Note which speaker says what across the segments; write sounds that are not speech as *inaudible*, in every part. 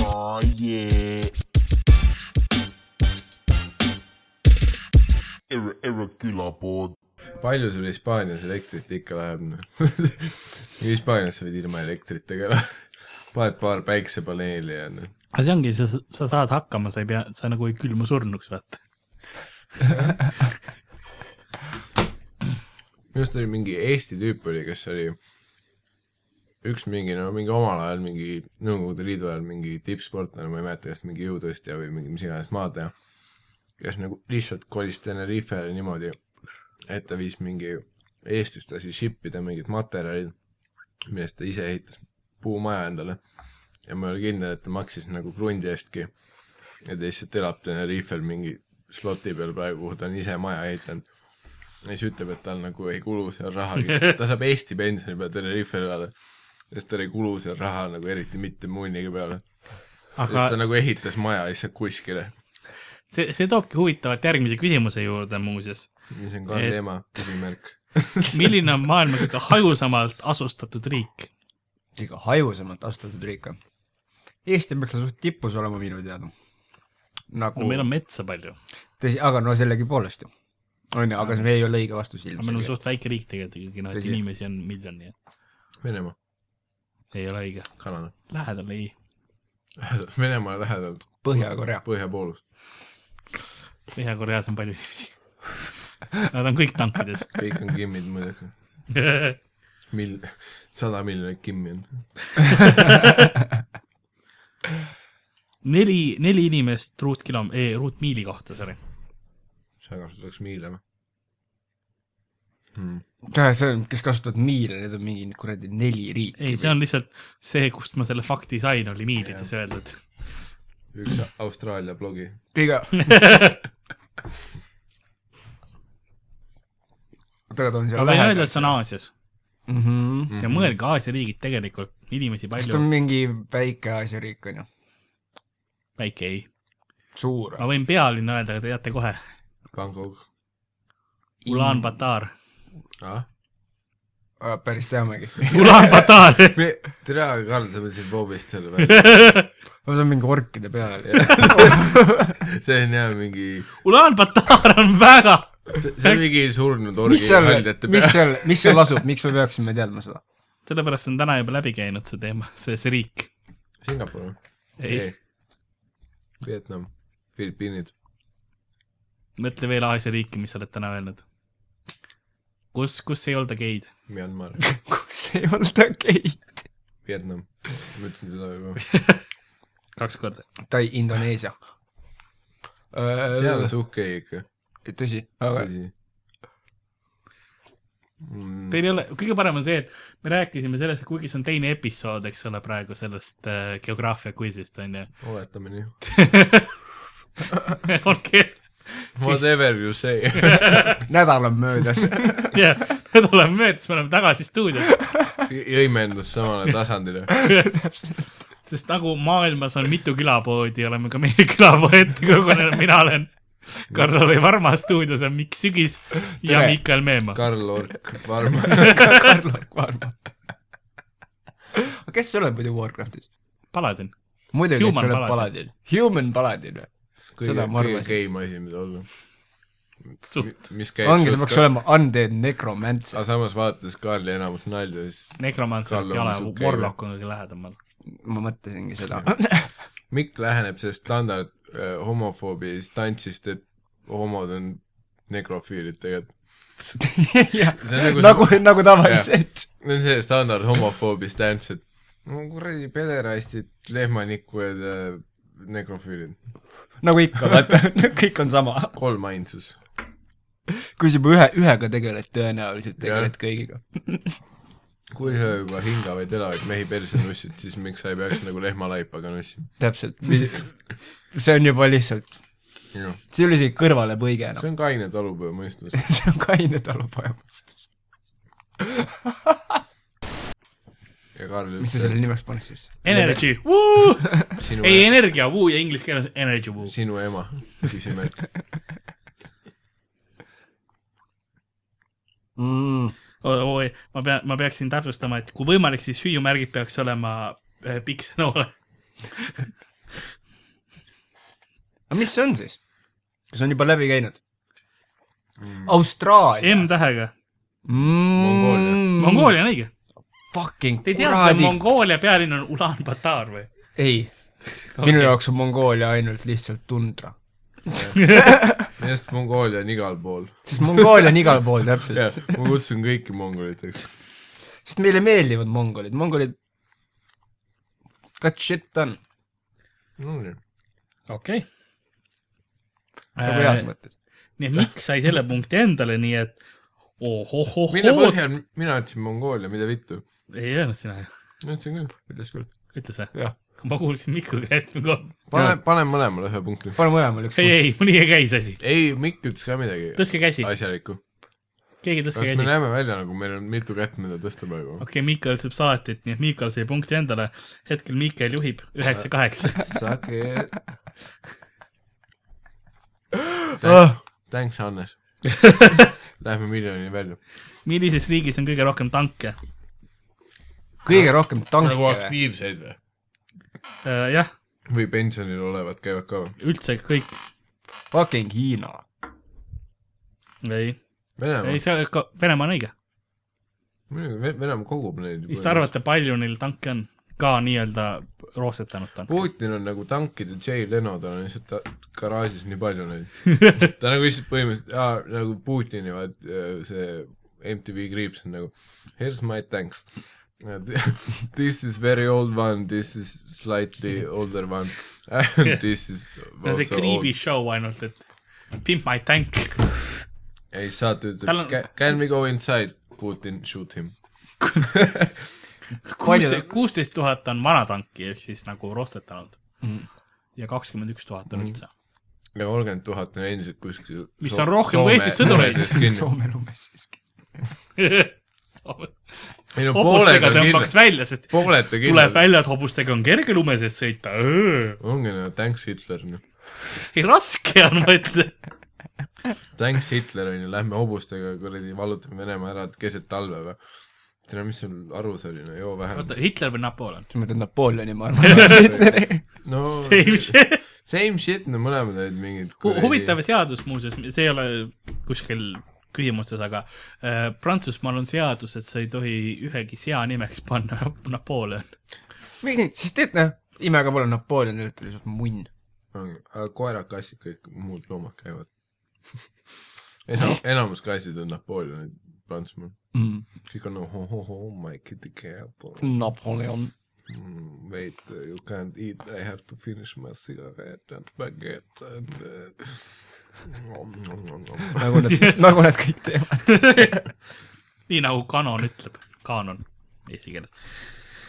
Speaker 1: Oh yeah. Ir- Irregular pood .
Speaker 2: palju sul Hispaanias elektrit ikka läheb ? *laughs* Hispaanias sa võid ilma elektritega elada . *laughs* paned paar päiksepaneeli ja noh ,
Speaker 3: aga see ongi , sa , sa saad hakkama , sa ei pea , sa nagu ei külmu surnuks , vaata .
Speaker 2: minu arust oli mingi Eesti tüüp oli , kes oli üks mingi , no mingi omal ajal mingi Nõukogude Liidu ajal mingi tippsportlane , ma ei mäleta , kas mingi jõutõstja või mingi mis iganes maatleja , kes nagu lihtsalt kolis Tenerifele niimoodi , et ta viis mingi , Eestist lasi ship ida mingid materjalid , millest ta ise ehitas puumaja endale ja ma ei ole kindel , et ta maksis nagu krundi eestki . ja ta lihtsalt elab Tenerifel mingi sloti peal praegu , kuhu ta on ise maja ehitanud ja siis ütleb , et tal nagu ei kulu seal raha , ta saab Eesti pensioni peal Tenerifel elada , sest tal ei kulu seal raha nagu eriti mitte munnigi peale . sest
Speaker 3: aga
Speaker 2: ta nagu ehitas maja lihtsalt kuskile ,
Speaker 3: see , see toobki huvitavalt järgmise küsimuse juurde muuseas .
Speaker 2: mis on Karli
Speaker 3: Et-
Speaker 2: et... ema küsimärk .
Speaker 3: milline on maailma kõige hajusamalt asustatud riik ?
Speaker 4: kõige hajusamalt astutud riik on . Eesti peaks seal suht tipus olema minu teada . nagu
Speaker 3: no meil on metsa palju ,
Speaker 4: tõsi , aga no sellegipoolest ju . onju , aga see ei ole õige vastus
Speaker 3: aga meil on
Speaker 4: ilmselgelt .
Speaker 3: suht väike riik tegelikult ikkagi , noh , et
Speaker 4: Tõsi.
Speaker 3: inimesi on miljon ja
Speaker 2: Venemaa ,
Speaker 3: ei ole õige .
Speaker 2: Kanada ,
Speaker 3: lähedal ei ,
Speaker 2: *laughs* Venemaa lähedal
Speaker 4: Põhja-Korea .
Speaker 2: põhjapoolus ,
Speaker 3: Põhja-Koreas on palju inimesi . Nad on kõik tankides .
Speaker 2: kõik on kimmid muideks , mil- , sada miljonit kimmi on .
Speaker 3: neli , neli inimest ruutkilom- , ei ruutmiili kohta , sorry .
Speaker 2: sa kasutaks miile või hmm. ?
Speaker 4: see on , kes kasutavad miile , need on mingi kuradi neli riiki .
Speaker 3: ei , see on lihtsalt see , kust ma selle fakti sain , oli miilides öeldud .
Speaker 2: üks Austraalia blogi ,
Speaker 3: *laughs*
Speaker 4: kõige , oota , aga ta on seal
Speaker 3: aga ei öelda ,
Speaker 4: lähedal
Speaker 3: et . see on Aasias
Speaker 4: mhmh .
Speaker 3: ja mõelge , Aasia riigid tegelikult , inimesi
Speaker 4: kas ta Mhm. on
Speaker 3: palju ,
Speaker 4: mingi väike Aasia riik onju ?
Speaker 3: väike ei .
Speaker 4: suur .
Speaker 3: ma võin pealinna öelda , aga te teate kohe ,
Speaker 2: Bangkok
Speaker 3: Ulan-Batar .
Speaker 2: ah? .
Speaker 4: päris teamegi . *laughs*
Speaker 3: *laughs* Ulan-Batar .
Speaker 2: me , tere , Karl , sa mõtlesid Bobist selle *laughs* peale ,
Speaker 4: no see on mingi orkide
Speaker 3: *laughs*
Speaker 4: *laughs* peal .
Speaker 2: see on jah mingi ,
Speaker 3: Ulan-Batar on väga ,
Speaker 2: see see on mingi surnud orgi
Speaker 4: mis seal ,
Speaker 2: haldjate
Speaker 4: mis
Speaker 2: peal .
Speaker 4: seal , mis seal asub , miks me peaksime teadma seda ?
Speaker 3: sellepärast on täna juba läbi käinud see teema , see , see riik .
Speaker 2: Singapur või ?
Speaker 3: ei ,
Speaker 2: Vietnam , Filipiinid ,
Speaker 3: mõtle veel Aasia riiki , mis sa oled täna öelnud . kus , kus ei olda geid ?
Speaker 2: Myanmar ,
Speaker 4: kus ei olnud okei okay. ?
Speaker 2: Vietnam , ma ütlesin seda juba .
Speaker 3: kaks korda .
Speaker 4: Tai Indoneesia .
Speaker 2: seal on suhke ikka ,
Speaker 4: tõsi , aga
Speaker 2: tõsi mm, .
Speaker 3: Teil ei ole , kõige parem on see , et me rääkisime sellest , kuigi see on teine episood , eks ole , praegu sellest äh, geograafia quiz'ist on ju . *laughs*
Speaker 2: oletame nii .
Speaker 3: olge ,
Speaker 2: Whatever you say . *laughs*
Speaker 4: nädal on möödas .
Speaker 3: jah , nüüd oleme möödas , me oleme tagasi stuudios ,
Speaker 2: võimendus samale tasandile .
Speaker 3: sest nagu maailmas on mitu külapoodi , oleme ka meie külapoe ette kogunenud , mina olen Karl-Lari Varma stuudios on Mikk Sügis ja
Speaker 4: Tere.
Speaker 3: Mikael Meemaa .
Speaker 2: Karl Ork , Varma ,
Speaker 4: kes sa oled muidu Warcraftis ?
Speaker 3: Paladin ,
Speaker 4: muidugi , et
Speaker 3: Human
Speaker 4: sa oled
Speaker 3: paladin.
Speaker 4: paladin . Human paladin või ?
Speaker 2: kõige
Speaker 4: seda , ma
Speaker 2: kõige
Speaker 4: arvasin .
Speaker 2: geim asi , mida olla .
Speaker 3: suht
Speaker 2: mis käib .
Speaker 4: ongi , see peaks olema undead necromancer .
Speaker 2: aga samas vaadates Kaarli enamus nalju , siis
Speaker 3: nekromantsalt
Speaker 2: Karl
Speaker 3: ei
Speaker 2: on
Speaker 3: ole
Speaker 2: suht , käiv.
Speaker 3: Warlock on kõige lähedamal .
Speaker 4: ma mõtlesingi
Speaker 2: *laughs*
Speaker 4: seda . *laughs*
Speaker 2: Mikk läheneb sellest standard äh, homofoobi distantsist , et homod on nekrofiilid tegelikult . See on nagu-
Speaker 4: nagu , nagu tavaliselt .
Speaker 2: see on see standard homofoobi stants , et no kuradi pederastid , lehmanikud ja nekrofiilid ,
Speaker 4: nagu ikka , vaata , *laughs* kõik on sama .
Speaker 2: kolm ainsus .
Speaker 4: kui sa juba ühe , ühega tegeled , tõenäoliselt tegeled
Speaker 2: Jah.
Speaker 4: kõigiga .
Speaker 2: kui sa juba hingavaid elavaid mehi perse nussid , siis miks sa ei peaks nagu lehmalaipaga nussima ?
Speaker 4: täpselt . see on juba lihtsalt ,
Speaker 2: see
Speaker 4: see ei ole isegi kõrvalepõige enam .
Speaker 2: on kaine talupojamõistus .
Speaker 4: *laughs* see on kaine talupoja vastus .
Speaker 2: ja Kaarl
Speaker 4: mis sa selle nimeks paned siis ?
Speaker 3: Energy ,
Speaker 2: sinu,
Speaker 3: ei energia , vuu ja inglise keeles energy vuu .
Speaker 2: sinu ema , küsimärk .
Speaker 4: mm, .
Speaker 3: oi , oi , ma pean , ma peaksin täpsustama , et kui võimalik , siis hüüumärgid peaks olema eh, pikksenoole .
Speaker 4: aga mis see on siis ? kas on juba läbi käinud ?
Speaker 2: Mm.
Speaker 4: Austraalia .
Speaker 3: M-tähega .
Speaker 2: Mongoolia.
Speaker 4: Mm.
Speaker 3: Mongoolia on õige .
Speaker 4: Fucking
Speaker 3: Te ei tea , et
Speaker 4: kuradi .
Speaker 3: Mongoolia pealinn on Ulan-Batar või ?
Speaker 4: ei , minu jaoks on Mongoolia ainult lihtsalt tundra .
Speaker 2: minu arust Mongoolia on igal pool .
Speaker 4: sest Mongoolia on igal pool täpselt
Speaker 2: jah , ma kutsun kõiki mongoliteks .
Speaker 4: sest meile meeldivad mongolid , mongolid . Cut shit done ,
Speaker 3: okei .
Speaker 4: nagu heas
Speaker 3: Äh.
Speaker 4: mõttes .
Speaker 3: nii et Mikk sai selle punkti endale , nii et ohohohoo .
Speaker 2: mille põhjal mina ütlesin Mongoolia , mida vittu ?
Speaker 3: ei öelnud sina ju ,
Speaker 2: ma ütlesin küll .
Speaker 4: ütles küll .
Speaker 3: ütles või ?
Speaker 4: jah ,
Speaker 3: ma kuulsin Miku käest kogu aeg .
Speaker 2: pane , pane mõlemale ühe punkti .
Speaker 4: pane mõlemale üks
Speaker 3: ei ,. ei , mul nii ei käi see asi .
Speaker 2: ei , Mikk ütles ka midagi
Speaker 3: tõstke käsi ,
Speaker 2: asjalikku .
Speaker 3: keegi tõstke
Speaker 2: kas me
Speaker 3: käsi .
Speaker 2: näeme välja nagu meil on mitu kätt , mida tõsta praegu ?
Speaker 3: okei , Mikal sööb salatit , nii et Mikal sai punkti endale . hetkel Mikal juhib üheksa-kaheksa .
Speaker 2: Sake .
Speaker 3: Ah.
Speaker 2: Thanks ,
Speaker 3: *laughs*
Speaker 2: Hannes . Lähme miljonini välja .
Speaker 3: millises riigis on kõige rohkem tanke ?
Speaker 4: kõige rohkem tanke või ?
Speaker 2: aktiivseid või ?
Speaker 3: Äh, jah ,
Speaker 2: või pensionil olevad käivad ka või ?
Speaker 3: üldse kõik .
Speaker 4: Fucking Hiina .
Speaker 3: ei , ei
Speaker 2: Venemaa ,
Speaker 3: see , Venemaa on õige .
Speaker 2: muidugi Ve- Venemaa kogub neid .
Speaker 3: mis te ? arvate , palju neil tanke on ? ka nii-öelda roostetanud tanke .
Speaker 2: Putin on nagu tankide Jay Leno , tal on lihtsalt ta, garaažis nii palju
Speaker 3: *laughs*
Speaker 2: neid . ta nagu lihtsalt põhimõtteliselt , aa , nagu Putini , vaat äh, see MTV kriips on nagu here's my tanks . *laughs* This is very old one , this is slightly older one
Speaker 3: *laughs*
Speaker 2: and this is
Speaker 3: see on see
Speaker 2: also old
Speaker 3: kriibi . show ainult , et pimp my *laughs* tank .
Speaker 2: ei , saate
Speaker 3: Tal on-
Speaker 2: ütleb , can we go inside , Putin shoot him .
Speaker 3: kuusteist , kuusteist tuhat on vana tanki ehk siis nagu roostetanud
Speaker 4: Mhm.
Speaker 3: ja kakskümmend üks tuhat on üldse . *laughs*
Speaker 2: ja kolmkümmend tuhat on endiselt kuskil .
Speaker 3: Mis on rohkem kui
Speaker 2: *laughs*
Speaker 3: Eestis sõdureid.
Speaker 4: Soome lumes siiski .
Speaker 2: ei no pooled
Speaker 3: hobustega
Speaker 2: on
Speaker 3: tõmbaks
Speaker 2: kindlalt ,
Speaker 3: välja , sest
Speaker 2: pooled on
Speaker 3: tuleb
Speaker 2: kindlalt .
Speaker 3: välja , et hobustega on kerge lume sees sõita .
Speaker 2: ongi nagu thanks Hitler , noh .
Speaker 3: ei raske on , ma ütlen .
Speaker 2: Thanks Hitler onju , lähme hobustega kuradi vallutame Venemaa ära keset talve või ? tere , mis sul arvus oli , no joo vähem
Speaker 3: oota ,. Hitler või Napoleon ?
Speaker 4: sa mõtled Napoleoni , ma arvan .
Speaker 2: no
Speaker 3: *laughs* Same shit .
Speaker 2: same shit , no mõlemad olid mingid
Speaker 3: huvitav seadus muuseas , see ei ole kuskil küsimustes , aga äh, Prantsusmaal on seadus , et sa ei tohi ühegi sea nimeks panna *laughs* Napoleon .
Speaker 4: miks nii , sest et noh , imega pole Napoleonil tuli lihtsalt munn .
Speaker 2: aga koerad , kassid , kõik muud loomad
Speaker 3: *laughs*
Speaker 2: käivad Enam, . enamus kassid on Napoleonid Prantsusmaal , kõik on nagu oh-oh-oh my kitty cat
Speaker 4: Napoleon .
Speaker 2: mm, . Wait , you can't eat , I have to finish my cigarette and baguette and eh, *laughs* uh, .
Speaker 4: nagu nad , *laughs* nagu nad kõik teevad .
Speaker 3: *laughs* nii nagu kanon ütleb , kaanon eesti keeles .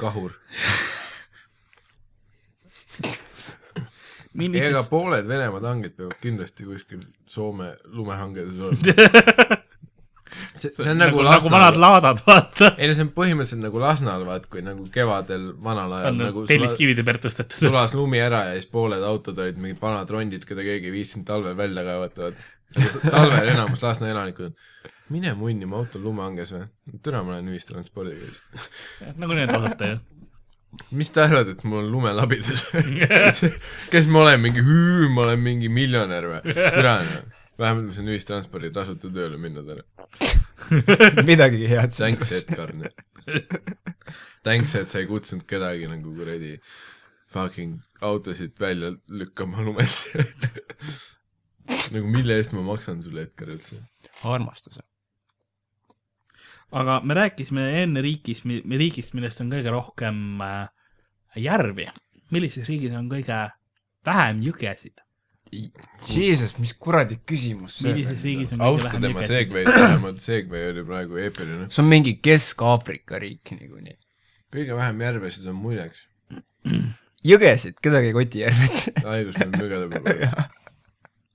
Speaker 2: kahur ei , aga
Speaker 3: millises ,
Speaker 2: pooled Venemaa tangid peavad kindlasti kuskil Soome lumehangedes *laughs* olema . see , see on nagu,
Speaker 3: nagu, nagu vanad laadad , vaata .
Speaker 2: ei no see on põhimõtteliselt nagu Lasnal , vaat kui nagu kevadel vanal ajal
Speaker 3: on
Speaker 2: nagu sula,
Speaker 3: telliskivide pealt tõstetud .
Speaker 2: sulas lumi ära ja siis pooled autod olid mingid vanad rondid , keda keegi ei viitsinud talvel välja kaevata , vaat Nagu t- talvel enamus Lasna elanikud on mine munni , mu auto on lumehanges või ? türa , ma olen ühistranspordiga siis .
Speaker 3: *laughs* nagu need osata ju .
Speaker 2: mis te arvate , et mul on
Speaker 3: *laughs*
Speaker 2: lumelabides ? *laughs* kes ma olen , mingi hüü , ma olen mingi miljonär või ? türa , vähemalt ma saan ühistranspordi tasuta tööle minna täna .
Speaker 4: midagi head .
Speaker 2: Thanks , Edgar .
Speaker 3: *laughs*
Speaker 2: Thanks , et sa ei kutsunud kedagi nagu kuradi fucking autosid välja lükkama lumest . *laughs* nagu mille eest ma maksan sulle , Edgar , üldse ?
Speaker 4: armastuse .
Speaker 3: aga me rääkisime enne riigis , riigist , millest on kõige rohkem äh, järvi . millises riigis on kõige vähem jõgesid ?
Speaker 4: Jesus , mis kuradi küsimus see
Speaker 3: millises riigis on kõige
Speaker 2: austa
Speaker 3: vähem
Speaker 2: tema
Speaker 3: jõgesid ?
Speaker 2: segveid , vähemalt segvei oli praegu eepiline .
Speaker 4: see on mingi Kesk-Aafrika riik nagu niikuinii .
Speaker 2: kõige vähem järvesid on muideks ,
Speaker 4: jõgesid , kedagi ei koti järved .
Speaker 2: *laughs* haigus meil mügede
Speaker 4: *laughs*
Speaker 2: peal .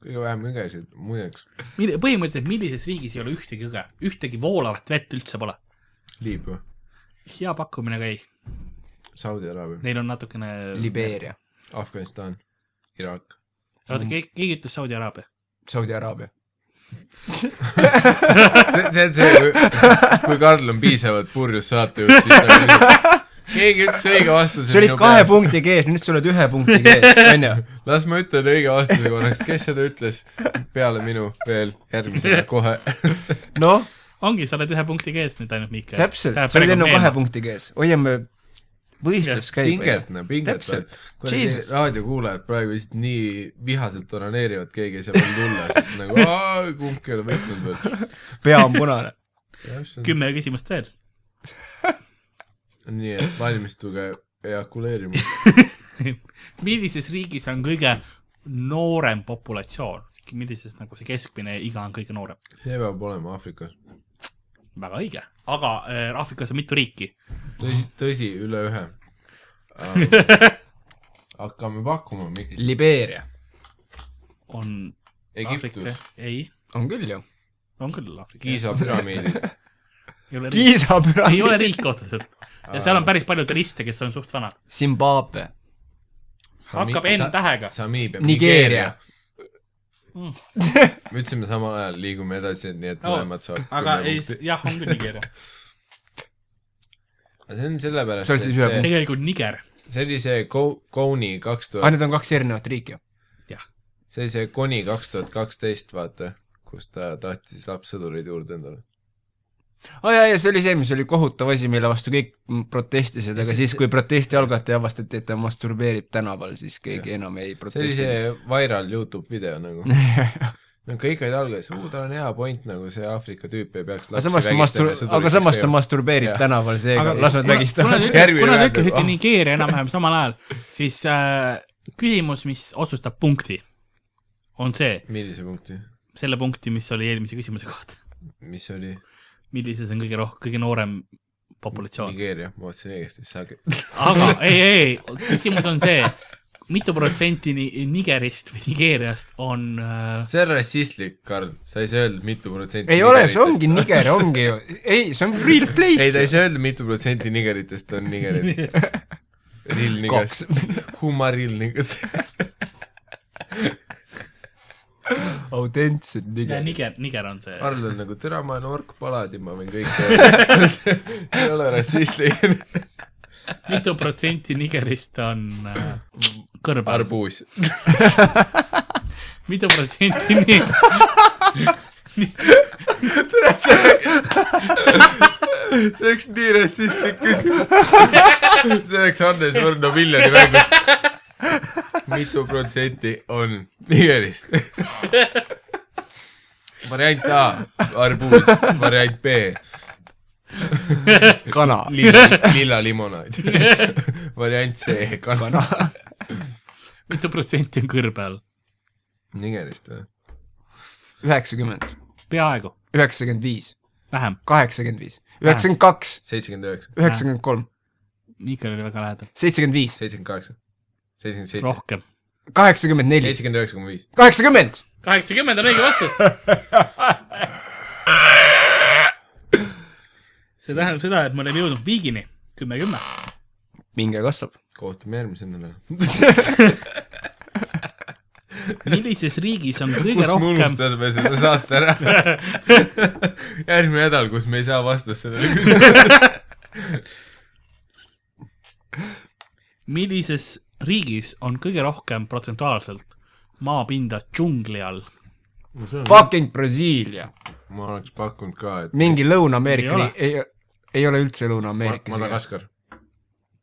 Speaker 2: kõige vähem mügesid muideks
Speaker 3: mille , põhimõtteliselt millises riigis ei ole ühtegi jõge , ühtegi voolavat vett üldse pole ?
Speaker 2: Liibüa ,
Speaker 3: hea pakkumine ka ei ,
Speaker 2: Saudi Araabia ,
Speaker 3: neil on natukene .
Speaker 4: Libeeria ,
Speaker 2: Afganistan , Iraak .
Speaker 3: oota , keegi , keegi ütles Saudi Araabia .
Speaker 4: Saudi Araabia .
Speaker 2: see , see on see , kui Karl on piisavalt purjus saatejuht , siis ta on keegi ütles õige vastuse .
Speaker 4: sa olid kahe . punkti kees , nüüd sa oled ühe punkti kees , onju .
Speaker 2: las ma ütlen õige vastuse korraks , kes seda ütles peale minu veel järgmisena kohe .
Speaker 4: noh ,
Speaker 3: ongi , sa oled ühe punkti kees nüüd ainult , Mihkel .
Speaker 4: täpselt , sa olid enne kahe . punkti kees , hoiame , võistlus käib .
Speaker 2: pingetne , pingetne
Speaker 4: Täpselt. . Jesus.
Speaker 2: raadiokuulajad praegu lihtsalt nii vihaselt oraneerivad , keegi ei saa veel tulla , sest nagu aa, kumbki ei ole võitnud veel .
Speaker 4: pea on punane .
Speaker 2: täpselt ,
Speaker 3: kümme küsimust veel . *laughs*
Speaker 2: nii et valmistuge eakuleerima .
Speaker 3: millises riigis on kõige noorem populatsioon ? millises nagu see keskmine iga on kõige noorem ?
Speaker 2: see peab olema Aafrikas .
Speaker 3: väga õige , aga äh, Aafrikas on mitu riiki . *laughs*
Speaker 2: tõsi , tõsi , üle ühe . hakkame pakkuma , Mikk .
Speaker 4: Libeeria .
Speaker 3: on Aafrika
Speaker 2: Egiptus ,,
Speaker 3: ei ,
Speaker 4: on küll ju .
Speaker 3: on küll Aafrika .
Speaker 2: Kiisa püramiidid .
Speaker 3: ei
Speaker 4: Kiisa
Speaker 3: ole
Speaker 4: püramiid .
Speaker 3: riik otseselt ja seal on päris palju turiste , kes on suht vanad .
Speaker 4: Zimbabwe .
Speaker 3: hakkab N tähega.
Speaker 2: Samiibia .
Speaker 4: Nigeeria. .
Speaker 3: Mm.
Speaker 2: *laughs* me ütlesime samal ajal , liigume edasi , nii et
Speaker 3: Oo,
Speaker 2: mõlemad saavad
Speaker 3: aga
Speaker 2: kümme
Speaker 3: ei
Speaker 2: punkti .,
Speaker 3: jah , on küll Nigeria .
Speaker 2: aga see on sellepärast ,
Speaker 4: See oleks siis ühe punkti.
Speaker 3: *laughs* tegelikult Niger ,
Speaker 2: see oli see Ko- , Koni kaks
Speaker 4: aa ,
Speaker 2: tuhat ,
Speaker 4: Ah, need on kaks erinevat riiki .
Speaker 2: see oli see Koni kaks tuhat kaksteist , vaata , kus ta tahtis lapssõdureid juurde endale .
Speaker 4: aa Ah, jaa , ja see oli see , mis oli kohutav asi , mille vastu kõik mm, protestisid , aga siis , kui protesti algataja avastati , et ta masturbeerib tänaval , siis keegi enam
Speaker 2: see
Speaker 4: ei
Speaker 2: oli
Speaker 4: protestinud .
Speaker 2: see viral Youtube video nagu . no kõik olid alguses , uu , tal on hea point nagu see Aafrika tüüp ei peaks
Speaker 4: aga samas ta mastur- , aga samas ta masturbeerib
Speaker 2: Jah.
Speaker 4: tänaval , seega
Speaker 3: Aga
Speaker 4: las nad
Speaker 3: kuna-
Speaker 4: vägistavad .
Speaker 3: kuna te
Speaker 2: Järgmine
Speaker 3: ütle- kuna te
Speaker 2: väärt-
Speaker 3: ütlesite
Speaker 2: ah.
Speaker 3: Nigeeria enam-vähem samal ajal , siis äh, küsimus , mis otsustab punkti , on see ,
Speaker 2: millise punkti ,
Speaker 3: selle punkti , mis oli eelmise küsimuse kohta .
Speaker 2: mis oli ?
Speaker 3: millises on kõige rohkem , kõige noorem populatsioon ?
Speaker 2: Nigeeria , ma mõtlesin õigesti , siis saage .
Speaker 3: aga ei , ei , küsimus on see , mitu protsenti Ni- Nigerist või Nigeeriast on äh,
Speaker 2: see on rassistlik , Karl , sa ei saa öelda , mitu protsenti
Speaker 4: ei ole , see ongi . Niger , ongi ju , ei , see on real place
Speaker 2: ei , ta ei saa öelda , mitu protsenti nigeritest on nigerid . Real nigas . Huma real nigas .
Speaker 4: autentsed Niger .
Speaker 3: Niger , Niger on see .
Speaker 2: Karl on nagu türa , ma olen ork paladi , ma võin kõike öelda . *laughs* see ei ole rassistlik .
Speaker 3: mitu protsenti Nigerist on äh, kõrval ?
Speaker 2: arbuus .
Speaker 3: mitu protsenti *laughs* nii ?
Speaker 2: see oleks nii rassistlik küsimus . see oleks Hannes Võrno miljoni mängu . mitu protsenti on nigerist ? variant A , arbuus , variant B ,
Speaker 4: kana .
Speaker 2: lilla , lilla limonaad . variant C , kana .
Speaker 3: mitu protsenti on kõrbel ?
Speaker 2: nigerist või ?
Speaker 4: üheksakümmend ,
Speaker 3: peaaegu ,
Speaker 4: üheksakümmend viis ,
Speaker 3: vähem .
Speaker 4: kaheksakümmend viis , üheksakümmend kaks ,
Speaker 2: seitsekümmend üheksa ,
Speaker 4: üheksakümmend kolm ,
Speaker 3: Mihkel oli väga lähedal .
Speaker 4: seitsekümmend viis ,
Speaker 2: seitsekümmend kaheksa , seitsekümmend seitse ,
Speaker 3: rohkem .
Speaker 4: kaheksakümmend neli ,
Speaker 2: seitsekümmend üheksa koma viis .
Speaker 4: kaheksakümmend .
Speaker 3: kaheksakümmend on õige vastus . see tähendab seda , et me oleme jõudnud viigini , kümme , kümme .
Speaker 4: minge kasvab .
Speaker 2: kohtume järgmisel nädalal .
Speaker 3: millises riigis on kõige
Speaker 2: kus me
Speaker 3: rohkem ,
Speaker 2: unustasime seda saate
Speaker 3: *laughs*
Speaker 2: ära ? järgmine nädal , kus me ei saa vastust sellele küsimusele .
Speaker 3: millises riigis on kõige rohkem protsentuaalselt maapinda džungli all ?
Speaker 4: Fucking Brasiilia ,
Speaker 2: ma oleks pakkunud ka , et
Speaker 4: mingi
Speaker 3: Ei
Speaker 4: Lõuna-Ameerika
Speaker 3: ole. ,
Speaker 4: ei , ei ole üldse
Speaker 2: Ma-
Speaker 4: Lõuna-Ameerikas .
Speaker 2: Madagaskar .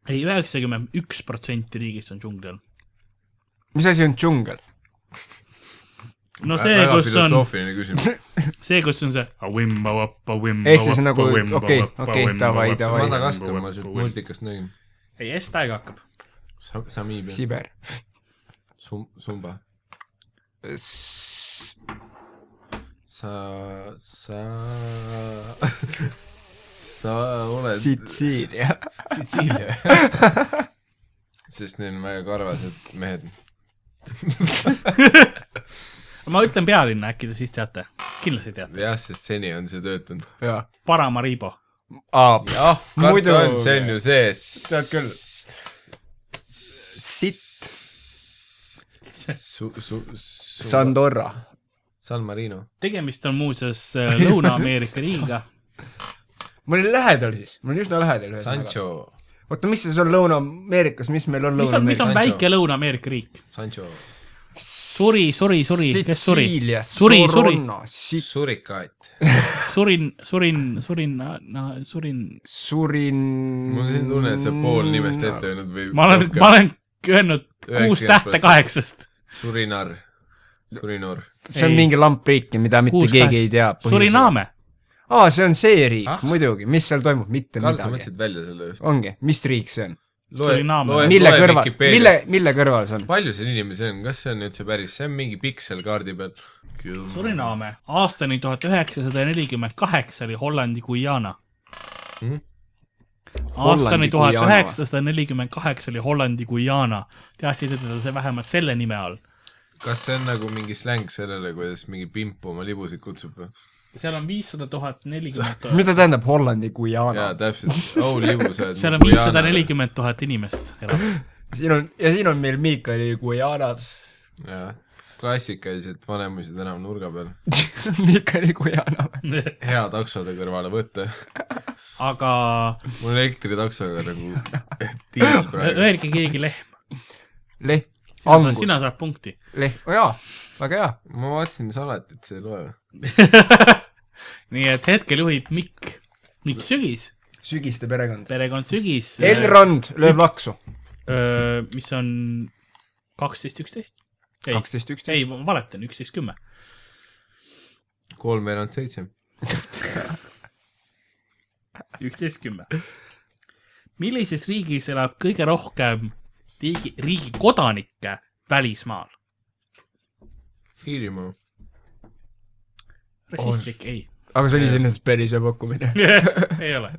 Speaker 3: ei , üheksakümmend üks protsenti riigist on džungli all .
Speaker 4: mis asi on džungel ?
Speaker 3: no see ,
Speaker 2: väga
Speaker 3: kus on ,
Speaker 2: filosoofiline küsimus .
Speaker 3: see , kus on see .
Speaker 4: Ehk
Speaker 2: Mm,
Speaker 3: ehk
Speaker 4: siis nagu, okei, okei, davai, *laughs* davai.
Speaker 2: Madagaskar ma sealt multikast nägin .
Speaker 3: ei , S täiega hakkab .
Speaker 2: Samiibia ,
Speaker 4: Siber .
Speaker 2: Sum- , Sumba , sa ,
Speaker 4: *laughs*
Speaker 2: sa , sa oled
Speaker 4: Sitsiilia . *laughs*
Speaker 2: Sitsiilia . sest neil on väga karvased mehed .
Speaker 3: ma ütlen pealinna , äkki te siis teate . kindlasti teate .
Speaker 2: jah , sest seni on see töötanud .
Speaker 4: jah .
Speaker 3: Paramaribo .
Speaker 2: ah ,
Speaker 4: Muidu-
Speaker 2: karta on , see on ju see .
Speaker 4: Tead küll. . Sitt .
Speaker 2: Su- , su- , su- .
Speaker 4: Sandorra .
Speaker 2: San Marino .
Speaker 3: tegemist on muuseas
Speaker 4: *laughs*
Speaker 3: äh, Lõuna-Ameerika riigiga .
Speaker 4: ma olin lähedal siis , ma olin üsna lähedal ühesõnaga .
Speaker 2: Sancho .
Speaker 4: oota , mis see sul Lõuna-Ameerikas , mis meil on
Speaker 3: mis on , mis on
Speaker 4: Lõuna-Ameerikas ?
Speaker 2: Sancho.
Speaker 3: väike Lõuna-Ameerika riik ?
Speaker 2: Sancho
Speaker 3: suri , suri , suri , kes suri ?
Speaker 4: Sitsiilia ,
Speaker 3: Suri, suri.
Speaker 4: Soronna ,
Speaker 2: surikaat .
Speaker 4: Mm.
Speaker 3: surin , surin , surin , surin .
Speaker 4: Sitsurin .
Speaker 2: mul on selline tunne , et sa pool nimest ette öelnud või .
Speaker 3: ma olen , ma olen öelnud kuus
Speaker 2: 90%
Speaker 3: tähte kaheksast .
Speaker 2: surinar , surinor .
Speaker 4: see on
Speaker 3: Ei.
Speaker 4: mingi lampriiki , mida mitte
Speaker 3: Kuus
Speaker 4: Kuus keegi
Speaker 3: kaheksa.
Speaker 4: ei tea .
Speaker 3: Suriname .
Speaker 4: aa , see on see riik
Speaker 2: Ah.
Speaker 4: ah. , muidugi , mis seal toimub , mitte
Speaker 2: Karl , sa
Speaker 4: midagi .
Speaker 2: mõtlesid välja selle just .
Speaker 4: ongi , mis riik see on ?
Speaker 3: Suriname.
Speaker 4: mille kõrval , mille , mille kõrval see on ?
Speaker 2: palju see inimene see on , kas see on üldse päris , see on mingi piksel kaardi peal .
Speaker 3: Suriname . aastani tuhat üheksasada nelikümmend kaheksa oli Hollandi Guyana
Speaker 2: Mhm. .
Speaker 3: aastani
Speaker 4: Hollandi
Speaker 3: tuhat
Speaker 4: Guyana.
Speaker 3: üheksasada nelikümmend kaheksa oli Hollandi Guyana . teadsid , et see vähemalt selle nime all .
Speaker 2: kas see on nagu mingi släng sellele , kuidas mingi pimp oma libusid kutsub või ?
Speaker 3: seal on viissada tuhat nelikümmend ,
Speaker 4: mida tähendab Hollandi Guyana
Speaker 2: jaa ,? täpselt , nagu au libusad .
Speaker 3: *laughs* seal on viissada . nelikümmend tuhat inimest
Speaker 4: *laughs*
Speaker 3: elab .
Speaker 4: siin on , ja siin on meil Miikali Guyanad .
Speaker 2: jah , klassikaliselt Vanemuise tänav nurga peal .
Speaker 4: *laughs* Miikali Guyana .
Speaker 2: hea taksode kõrvale võtta . *laughs*
Speaker 3: aga
Speaker 2: mul elektritaksoga nagu diil praegu .
Speaker 3: öelge keegi lehm ,
Speaker 4: Leh ,
Speaker 3: sina,
Speaker 4: Angus ,
Speaker 3: sina saad punkti .
Speaker 4: Leh , jaa , väga hea .
Speaker 2: ma vaatasin salatit , see ei loe .
Speaker 3: nii et hetkel juhib Mikk , Mikk Sügis ,
Speaker 4: sügiste perekond .
Speaker 3: perekond Sügis ,
Speaker 4: Elrond lööb laksu .
Speaker 3: mis on kaksteist , üksteist . ei ,
Speaker 4: kaksteist , üksteist .
Speaker 3: ei , ma valetan , üksteist , kümme .
Speaker 2: kolmveerand seitse .
Speaker 3: üksteist , kümme . millises riigis elab kõige rohkem riigi , riigi kodanikke välismaal ?
Speaker 2: Iirimaa .
Speaker 3: rassistlik , ei , *laughs*
Speaker 4: aga see oli iseenesest päris hea pakkumine . *laughs*
Speaker 3: ei ole ,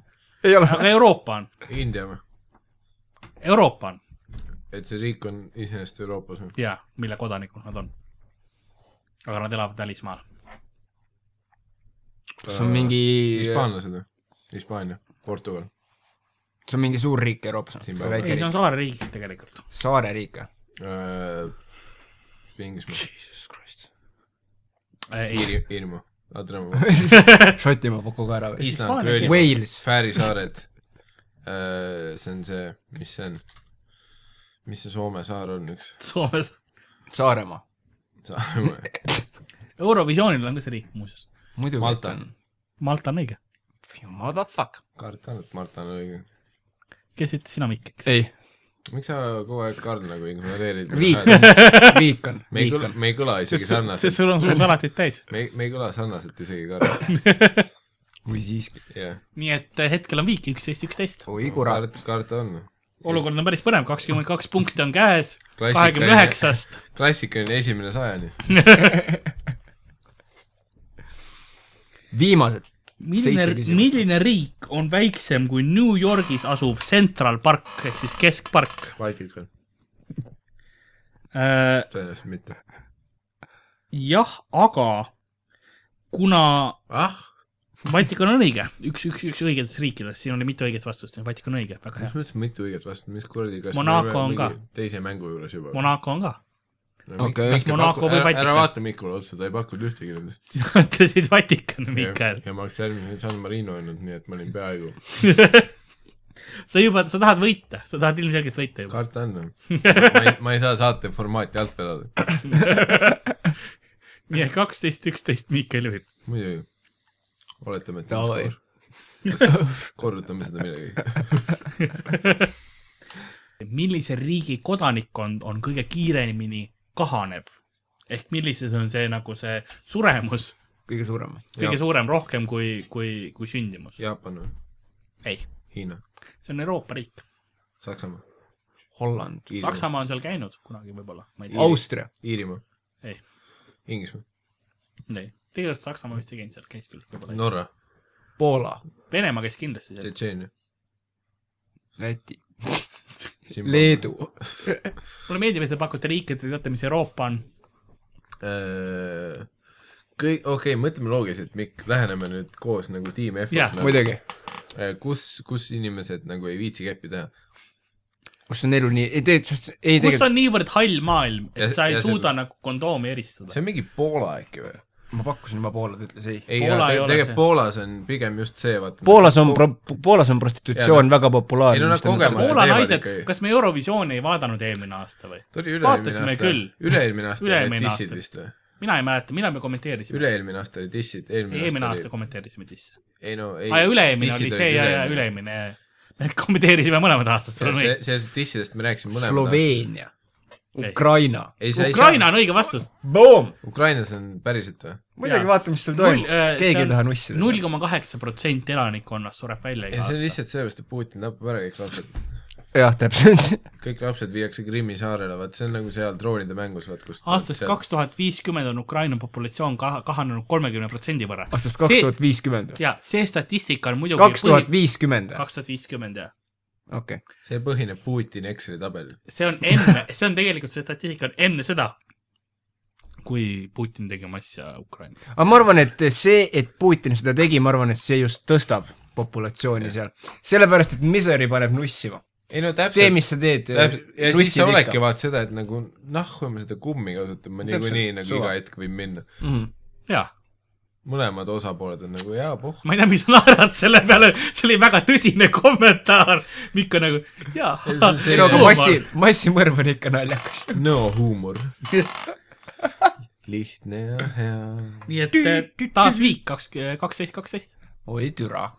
Speaker 4: ei ole .
Speaker 3: aga Euroopa on ,
Speaker 2: India või ?
Speaker 3: Euroopa on
Speaker 2: et see riik on iseenesest Euroopas või ?
Speaker 3: ja mille kodanikud nad on . aga nad elavad välismaal .
Speaker 4: see on mingi ,
Speaker 3: äh,
Speaker 2: hispaanlased või ? Hispaania , Portugal .
Speaker 4: see on mingi suur riik Euroopas .
Speaker 2: Siin
Speaker 4: või
Speaker 2: peab-
Speaker 3: ei ,
Speaker 4: väike
Speaker 3: see on
Speaker 4: riik ?
Speaker 3: saareriik tegelikult .
Speaker 4: *laughs* saareriik või ?
Speaker 2: äh, Inglismaa ,
Speaker 4: Jesus Christ .
Speaker 3: Äh, ei ,
Speaker 2: Iiri- , Iirimaa , Adremaa ,
Speaker 4: Šotimaa pakku ka ära või ?
Speaker 2: Island ,
Speaker 3: *laughs* Hispaania-
Speaker 2: Gröönimaa ,
Speaker 4: Wales ,
Speaker 2: Fääri saared . see on see , mis see on ? mis see Soome saar on üks ? *laughs*
Speaker 3: Soomes
Speaker 4: Saaremaa .
Speaker 2: Saaremaa .
Speaker 3: Eurovisioonil on ka see riik muuseas .
Speaker 4: muidugi .
Speaker 2: Malta. .
Speaker 3: Malta on õige .
Speaker 4: What the fuck ?
Speaker 2: kardan , et Marta on õige .
Speaker 3: kes ütles sina , Mikk , eks ?
Speaker 4: ei ,
Speaker 2: miks sa kogu aeg , Karl , nagu ignoreerid ?
Speaker 4: viik
Speaker 2: me
Speaker 4: *laughs* on , viik on ,
Speaker 2: ei
Speaker 4: viik
Speaker 2: kõla
Speaker 4: on .,
Speaker 2: me ei kõla isegi
Speaker 3: sest
Speaker 2: sarnaselt .
Speaker 3: sul on suur salatit täis .
Speaker 2: me ei , me ei kõla sarnaselt isegi , Karl .
Speaker 4: või siiski .
Speaker 2: jah .
Speaker 3: nii et äh, hetkel on viik üksteist , üksteist .
Speaker 4: oi kurat ..
Speaker 2: Karl ta on
Speaker 3: olukord on päris põnev , kakskümmend kaks punkti on käes ,
Speaker 2: Klassikaline.
Speaker 3: kahekümne üheksast .
Speaker 2: klassikaline esimene sajani .
Speaker 4: viimased .
Speaker 3: milline
Speaker 4: Seitse , küsimust.
Speaker 3: milline riik on väiksem kui New Yorgis asuv Central Park ehk siis keskpark ?
Speaker 2: Baltikal . tõenäoliselt mitte .
Speaker 3: jah , aga kuna
Speaker 2: ah ,
Speaker 3: Vatikan on õige , üks , üks , üks õigetest riikidest , siin oli mitu õiget vastust , nii et Vatikan on õige , väga
Speaker 2: mis
Speaker 3: hea .
Speaker 2: mõttes mitu õiget vastust , mis kuradi , kas
Speaker 3: Monaco
Speaker 2: me oleme
Speaker 3: on
Speaker 2: mingi
Speaker 3: ka.
Speaker 2: teise mängu juures juba ?
Speaker 3: Monaco on ka . *laughs*
Speaker 4: Okei. Kas
Speaker 3: Monaco või Vatikan?
Speaker 2: ära vaata Mikule otsa , ta ei pakkunud ühtegi nendest .
Speaker 3: sina ütlesid Vatikan , Mikael .
Speaker 2: ja ma oleks järgmisel San Marino öelnud , nii et ma olin peaaegu .
Speaker 3: sa juba , sa tahad võita , sa tahad ilmselgelt võita juba .
Speaker 2: Karl
Speaker 3: *laughs*
Speaker 2: Tann on . ma ei , ma ei saa saate formaati alt vedada .
Speaker 3: nii et kaksteist , üksteist Mikael juhib .
Speaker 2: muidugi . oletame , et see on
Speaker 4: Davai.
Speaker 2: skoor . korrutame seda midagi .
Speaker 3: millise riigi kodanikkond on kõige kiiremini kahanev ? ehk millises on see nagu see suremus
Speaker 4: kõige suurem .
Speaker 3: kõige
Speaker 2: Jah.
Speaker 3: suurem , rohkem kui , kui , kui sündimus ?
Speaker 2: Jaapan või ?
Speaker 3: ei ,
Speaker 2: Hiina ?
Speaker 3: see on Euroopa riik .
Speaker 2: Saksamaa ?
Speaker 4: Holland .
Speaker 3: Saksamaa on seal käinud kunagi võib-olla , ma ei tea .
Speaker 4: Austria .
Speaker 2: Iirimaa ?
Speaker 3: Ei. .
Speaker 2: Inglismaa ?
Speaker 3: ei , tegelikult Saksamaa vist ei käinud seal , käis küll võib-olla .
Speaker 2: Norra ?
Speaker 4: Poola .
Speaker 3: Venemaa käis kindlasti seal .
Speaker 2: Tšetšeenia ?
Speaker 4: Läti . Leedu .
Speaker 3: mulle meeldib , et te pakute riike , et te teate , mis Euroopa on .
Speaker 2: Äh, kõik , okei okay, , mõtleme loogiliselt , Mikk , läheneme nüüd koos nagu tiim
Speaker 3: Jah,
Speaker 2: F-is nagu, .
Speaker 4: muidugi .
Speaker 2: kus , kus inimesed nagu ei viitsi käppi teha .
Speaker 4: kus on elu nii , ei tegelikult , ei
Speaker 3: kus
Speaker 4: tegelikult ,
Speaker 3: on niivõrd hall maailm , et
Speaker 2: Ja-
Speaker 3: sa ei
Speaker 2: ja see-
Speaker 3: suuda nagu kondoomi eristada
Speaker 2: see . on mingi Poola äkki või ?
Speaker 4: ma pakkusin juba Poolat , ütles ei .
Speaker 2: ei ,
Speaker 3: Poola ei ole see.
Speaker 2: tegelikult Poolas on pigem just see , vaata . nagu
Speaker 4: Poolas on pro- , Poolas on prostitutsioon
Speaker 2: Jaa,
Speaker 4: väga populaarne .
Speaker 2: ei, no nagu nad kogemata-
Speaker 3: Poola
Speaker 2: teevad
Speaker 3: naised
Speaker 2: ikkagi. ,
Speaker 3: kas me Eurovisiooni ei vaadanud eelmine aasta või ?
Speaker 2: ta oli üle-eelmine
Speaker 3: vaatasime
Speaker 2: aasta
Speaker 3: küll. ,
Speaker 2: üle-eelmine aasta oli
Speaker 3: Üle-eelmine
Speaker 2: dissid
Speaker 3: aasta.
Speaker 2: vist või ?
Speaker 3: mina ei mäleta , millal me kommenteerisime ?
Speaker 2: üle-eelmine aasta oli dissid , eelmine
Speaker 3: eelmine aasta
Speaker 2: aasta oli ,
Speaker 3: kommenteerisime disse .
Speaker 2: ei no ei .
Speaker 3: aa , üle-eelmine oli see ja , ja . üle-eelmine . me kommenteerisime mõlemad aastad , sul on õigus .
Speaker 2: sellest dissidest me rääkisime mõlemad aastad .
Speaker 4: Sloveenia , Ukraina .
Speaker 2: ei , sa ei
Speaker 3: Ukraina
Speaker 2: saa ,
Speaker 3: on õige vastus .
Speaker 4: Boom!
Speaker 2: Ukrainas on päriselt või ?
Speaker 4: muidugi
Speaker 3: Jaa.
Speaker 4: vaatame , mis seal toimub . keegi ei taha nussida .
Speaker 3: äh, null koma kaheksa protsenti elanikkonnast sureb välja
Speaker 2: ei ,
Speaker 3: iga
Speaker 2: see on
Speaker 3: aasta .
Speaker 2: lihtsalt sellepärast , et Putin tapab ära kõik lapsed .
Speaker 4: jah , täpselt . *laughs*
Speaker 2: kõik lapsed viiakse Krimmi saarele , vaat see on nagu seal droonide mängus , vaat kus
Speaker 3: aastast kaks tuhat viiskümmend on Ukraina populatsioon kaha- , kahanenud kolmekümne protsendi võrra .
Speaker 4: aastast kaks tuhat viiskümmend või ?
Speaker 3: jaa , see statistika on muidugi
Speaker 4: kaks tuhat viiskümmend või ?
Speaker 3: kaks tuhat viiskümmend , jah .
Speaker 4: okei .
Speaker 2: see põhineb Putini Exceli tabelil .
Speaker 3: see on enne , see on tegelikult , see statistika on enne seda , kui Putin tegi massia Ukraina .
Speaker 4: aga ma arvan , et see , et Putin seda tegi , ma arvan , et see just tõstab populatsiooni seal . sellepärast , et misery paneb nussima .
Speaker 2: ei no
Speaker 4: tee ,
Speaker 2: täpselt ,
Speaker 4: mis sa teed . eh,
Speaker 2: täpselt , ja siis sa oledki vaata seda , et nagu nahku ma seda kummi kasutan , ma
Speaker 4: Täpselt,
Speaker 2: niikuinii nagu
Speaker 4: suva.
Speaker 2: iga hetk võin minna .
Speaker 4: Mhm.
Speaker 3: jaa ,
Speaker 2: mõlemad osapooled on nagu jaa , puh .
Speaker 3: ma ei tea , miks sa naerad selle peale , see oli väga tõsine kommentaar . Mikk on nagu , jaa .
Speaker 2: Ei, see on see-
Speaker 4: ei no aga massi , massimõrv on ikka naljakas .
Speaker 2: no huumor . lihtne ja hea .
Speaker 3: nii et eh, taas viik kaks , kaksteist , kaksteist .
Speaker 4: oi türa .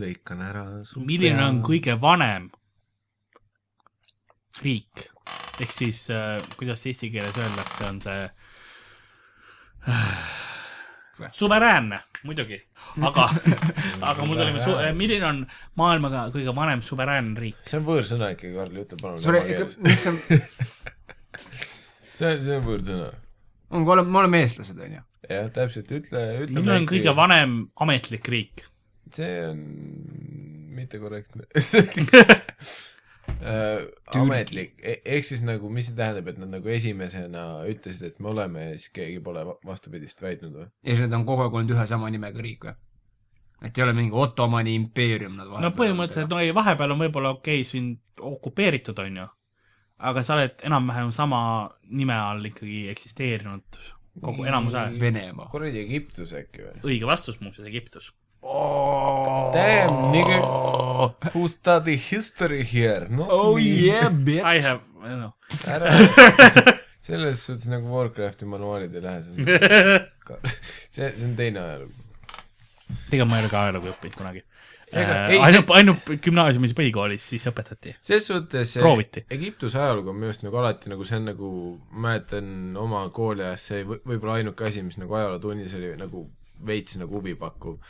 Speaker 2: lõikan ära su
Speaker 3: milline on kõige vanem riik ? ehk siis , kuidas see eesti keeles öeldakse , on see äh, suveräänne , muidugi , *laughs* aga , aga mul tuli su- , milline on maailma kõige vanem suveräänne riik ?
Speaker 2: see on võõrsõna ikkagi , Karl , ütle palun . see
Speaker 4: *laughs* mis on ,
Speaker 2: on , see on võõrsõna .
Speaker 4: me oleme , me oleme eestlased , onju .
Speaker 2: jah , täpselt , ütle , ütle .
Speaker 3: milline on kõige ? vanem ametlik riik ?
Speaker 2: see on mittekorrektne . ametlik , ehk siis nagu , mis see tähendab , et nad nagu esimesena ütlesid , et me oleme ja siis keegi pole va- vastupidist väitnud või ?
Speaker 4: ja siis nad on kogu aeg olnud ühe sama nimega riik või ? et ei ole mingi Ottomani impeerium nad
Speaker 3: no põhimõtteliselt , no ei , vahepeal on võib-olla okei okay, sind okupeeritud , on ju , aga sa oled enam-vähem sama nime all ikkagi eksisteerinud kogu enamus ajast .
Speaker 4: Venemaa .
Speaker 2: kuradi Egiptus äkki või ?
Speaker 3: õige vastus muuseas , Egiptus .
Speaker 2: Damn , nigga . Who study history here ?
Speaker 4: oh yeah ,
Speaker 3: I
Speaker 4: bitch .
Speaker 3: have , *laughs* noh .
Speaker 2: ära , selles suhtes nagu Warcrafti manuaalid ei lähe
Speaker 3: *laughs*
Speaker 2: seal .
Speaker 3: tegelikult
Speaker 2: see , see on teine ajalugu .
Speaker 3: ma ei ole ka ajalugu õppinud kunagi .
Speaker 2: Ega- ei,
Speaker 3: ainult , ainult gümnaasiumis , põhikoolis siis õpetati .
Speaker 2: ses suhtes eh,
Speaker 3: Prooviti.
Speaker 2: Egiptuse ajalugu on minu arust nagu alati nagu see on nagu , ma mäletan oma kooliajast , see võ- võib-olla ainuke asi , mis nagu ajalootunnis oli nagu veits nagu huvipakkuv .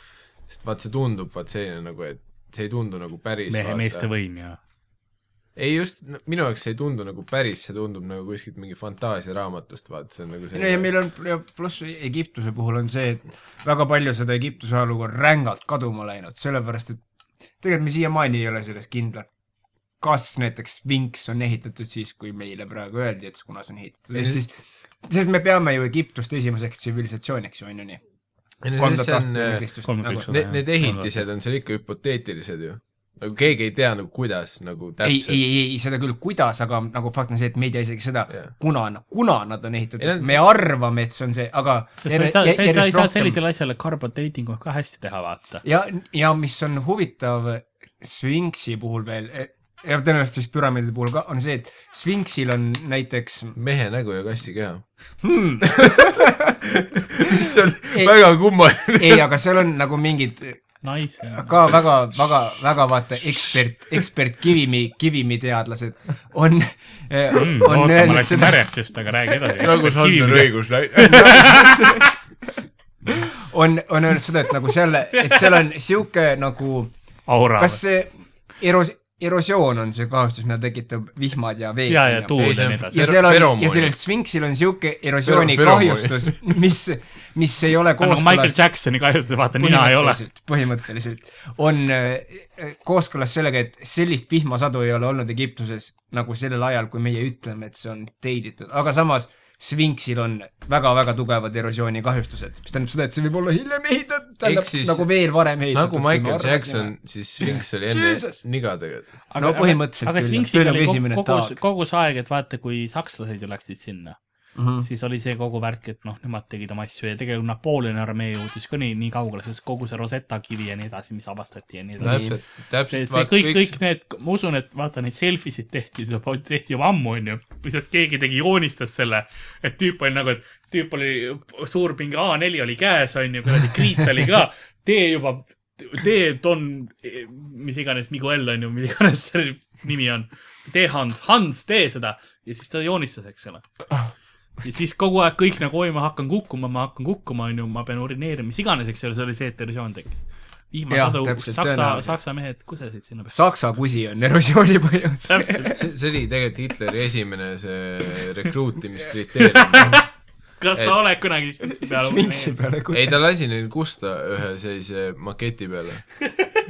Speaker 2: sest vaat see tundub vaat selline nagu , et see ei tundu nagu päris
Speaker 3: mehe ,
Speaker 2: vaata.
Speaker 3: meeste võim ja .
Speaker 2: ei just , minu jaoks see ei tundu nagu päris , see tundub nagu kuskilt mingi fantaasiaraamatust , vaata see on nagu
Speaker 4: no ja meil on , ja pluss Egiptuse puhul on see , et väga palju seda Egiptuse ajalugu on rängalt kaduma läinud , sellepärast et tegelikult me siiamaani ei ole selles kindlad , kas näiteks Sphinx on ehitatud siis , kui meile praegu öeldi , et kuna see on ehitatud , ehk siis sest me peame ju Egiptust esimeseks tsivilisatsiooniks ju , on ju nii ?
Speaker 2: on
Speaker 4: kolmsada aastat enne Kristust . nagu
Speaker 3: kolmkümmend üks
Speaker 2: Need , need ehitised on seal ikka hüpoteetilised ju . nagu keegi ei tea nagu kuidas nagu
Speaker 4: ei ,
Speaker 2: täpselt .
Speaker 4: ei , ei , ei seda küll , kuidas , aga nagu fakt on see , et me ei tea isegi seda
Speaker 2: Jah.
Speaker 4: yeah. , kuna , kuna nad on
Speaker 2: Ei, nad-
Speaker 4: ehitatud , me arvame , et see on see , aga
Speaker 3: sest sa ei saa , sa ei saa- ei saa sellisele asjale carbon dating ka hästi teha , vaata .
Speaker 4: ja , ja mis on huvitav Sphinxi puhul veel , ja tõenäoliselt siis püramiidide puhul ka , on see , et Sphinxil on näiteks
Speaker 2: mehe nägu ja kassi keha .
Speaker 4: *laughs* hmm, ,
Speaker 2: mis on
Speaker 4: Ei.
Speaker 2: väga kummaline .
Speaker 4: ei , aga seal on nagu mingid
Speaker 3: naise .
Speaker 4: ka väga , väga , väga vaata ekspert , ekspert kivimi , kivimiteadlased on ,
Speaker 3: Hmm,
Speaker 4: on öelnud seda ,
Speaker 3: märjatust , aga räägi edasi .
Speaker 2: nagu Sander . Õigus *laughs*
Speaker 4: on , on öelnud seda , et nagu seal , et seal on sihuke nagu
Speaker 3: aura .
Speaker 4: kas see eros- , erosioon on see kahjustus , mida tekitab vihmad ja veed ?
Speaker 3: ja , ja tuul
Speaker 2: Ei,
Speaker 3: ja
Speaker 2: see on-
Speaker 3: nii edasi
Speaker 4: ja . seal on ,
Speaker 2: Feromoonid.
Speaker 4: ja sellel sfinksil on siuke erosiooni
Speaker 2: Fero- feromoonid.
Speaker 4: kahjustus , *laughs* mis , mis ei ole
Speaker 3: ta on nagu Michael
Speaker 4: kooskõlas
Speaker 3: Jacksoni kahjustus , vaata nina ei ole .
Speaker 4: põhimõtteliselt- põhimõtteliselt on äh, kooskõlas sellega , et sellist vihmasadu ei ole olnud Egiptuses nagu sellel ajal , kui meie ütleme , et see on teiditud , aga samas sfinksil on väga-väga tugevad eroosioonikahjustused , mis tähendab seda , et see võib olla hiljem ehitatud , tähendab
Speaker 2: Ehk siis-
Speaker 4: nagu veel varem ehitatud .
Speaker 2: nagu Michael Jackson , siis Sphinx oli enne
Speaker 4: Jesus.
Speaker 2: nigadega .
Speaker 4: no põhimõtteliselt
Speaker 3: aga
Speaker 4: küll,
Speaker 3: Sphinxil
Speaker 4: tõenäoliselt
Speaker 3: oli
Speaker 4: esimene
Speaker 3: kogu
Speaker 4: taak. ,
Speaker 3: kogu see aeg , et vaata , kui sakslased ju läksid sinna
Speaker 4: Mhm.
Speaker 3: siis oli see kogu värk , et noh , nemad tegid oma asju ja tegelikult Napoleoni armee jõudis ka nii , nii kaugele , sest kogu see Rosetta kivi ja nii edasi , mis avastati ja nii edasi .
Speaker 2: täpselt ,
Speaker 3: see ,
Speaker 2: täpselt ,
Speaker 3: see kõik , kõik need , ma usun , et vaata neid selfie sid tehti juba , tehti juba ammu , onju . lihtsalt keegi tegi , joonistas selle , et tüüp oli nagu , et tüüp oli suur pinge A4 oli käes , onju , kuradi kriit oli ka . *laughs* tee juba , tee Don , mis iganes , Miguel onju , mis iganes selle nimi on . tee Hans , Hans , tee seda ja siis ta joonistas , eks ole ja siis kogu aeg kõik nagu , oi , ma hakkan kukkuma , ma hakkan kukkuma , onju , ma pean urineerima , mis iganes , eks ole , see oli see , et erosioon tekkis .
Speaker 4: Jah,
Speaker 3: vihmasadu ,
Speaker 4: täpselt,
Speaker 3: saksa ,
Speaker 4: tõenäoliselt.
Speaker 3: saksa mehed kusesid sinna .
Speaker 4: Saksa kusi on erosiooni põhjus .
Speaker 3: *laughs* täpselt ,
Speaker 2: see , see oli tegelikult Hitleri esimene see
Speaker 4: *laughs*
Speaker 2: rekruutimiskriteerium .
Speaker 3: kas
Speaker 2: Et-
Speaker 3: sa oled kunagi spitsi peal
Speaker 4: Švintsi peale
Speaker 2: ei ,
Speaker 4: kusi .
Speaker 2: ta lasi neil kusta ühe sellise maketi peale ,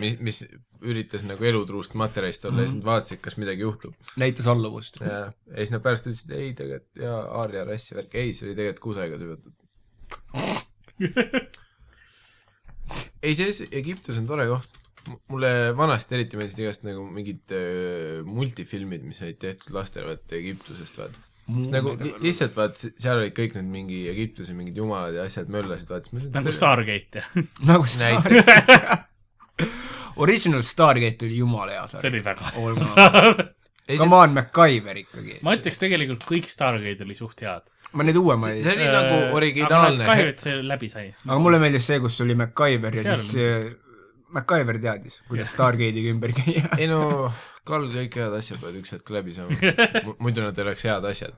Speaker 2: mis , mis üritas nagu elutruust materjalist olla ja
Speaker 4: Mhm.
Speaker 2: siis nad vaatasid , kas midagi juhtub .
Speaker 4: näitas alluvust .
Speaker 2: ja ja siis nad pärast ütlesid , ei tegelikult jaa , Aaria rass ja värk , ei , see oli tegelikult kusega seotud . ei , see Egiptus on tore koht . mulle vanasti eriti meeldisid igast nagu mingid äh, multifilmid , mis olid tehtud lastele , vaata Egiptusest , vaata . nagu li- lihtsalt vaat se- seal olid kõik need mingi Egiptuse mingid jumalad ja asjad möllasid , vaata siis
Speaker 3: *laughs* nagu
Speaker 2: mõtlesin ,
Speaker 3: Stargate ,
Speaker 4: nagu Star- *laughs*
Speaker 2: näiteks ,
Speaker 4: Original Stargate oli jumala hea
Speaker 3: see
Speaker 4: sari .
Speaker 3: oli väga hea .
Speaker 4: olgem ausad .
Speaker 3: *laughs*
Speaker 2: ei see ,
Speaker 4: Come on , MacGyver ikkagi .
Speaker 3: ma ütleks tegelikult kõik Stargate oli suht head . Äh,
Speaker 4: ma neid uuemaid
Speaker 2: see oli nagu
Speaker 3: kahju ,
Speaker 2: originaalne ,
Speaker 3: et see läbi sai .
Speaker 4: aga
Speaker 3: *laughs*
Speaker 4: mulle meeldis see , kus oli MacGyver ja
Speaker 3: Seal
Speaker 4: siis äh, MacGyver teadis , kuidas Stargate'iga ümber käia . *laughs*
Speaker 2: ei no , Karl , kõik head asjad peavad üks hetk läbi
Speaker 3: *laughs*
Speaker 2: saama , muidu nad ei oleks head asjad .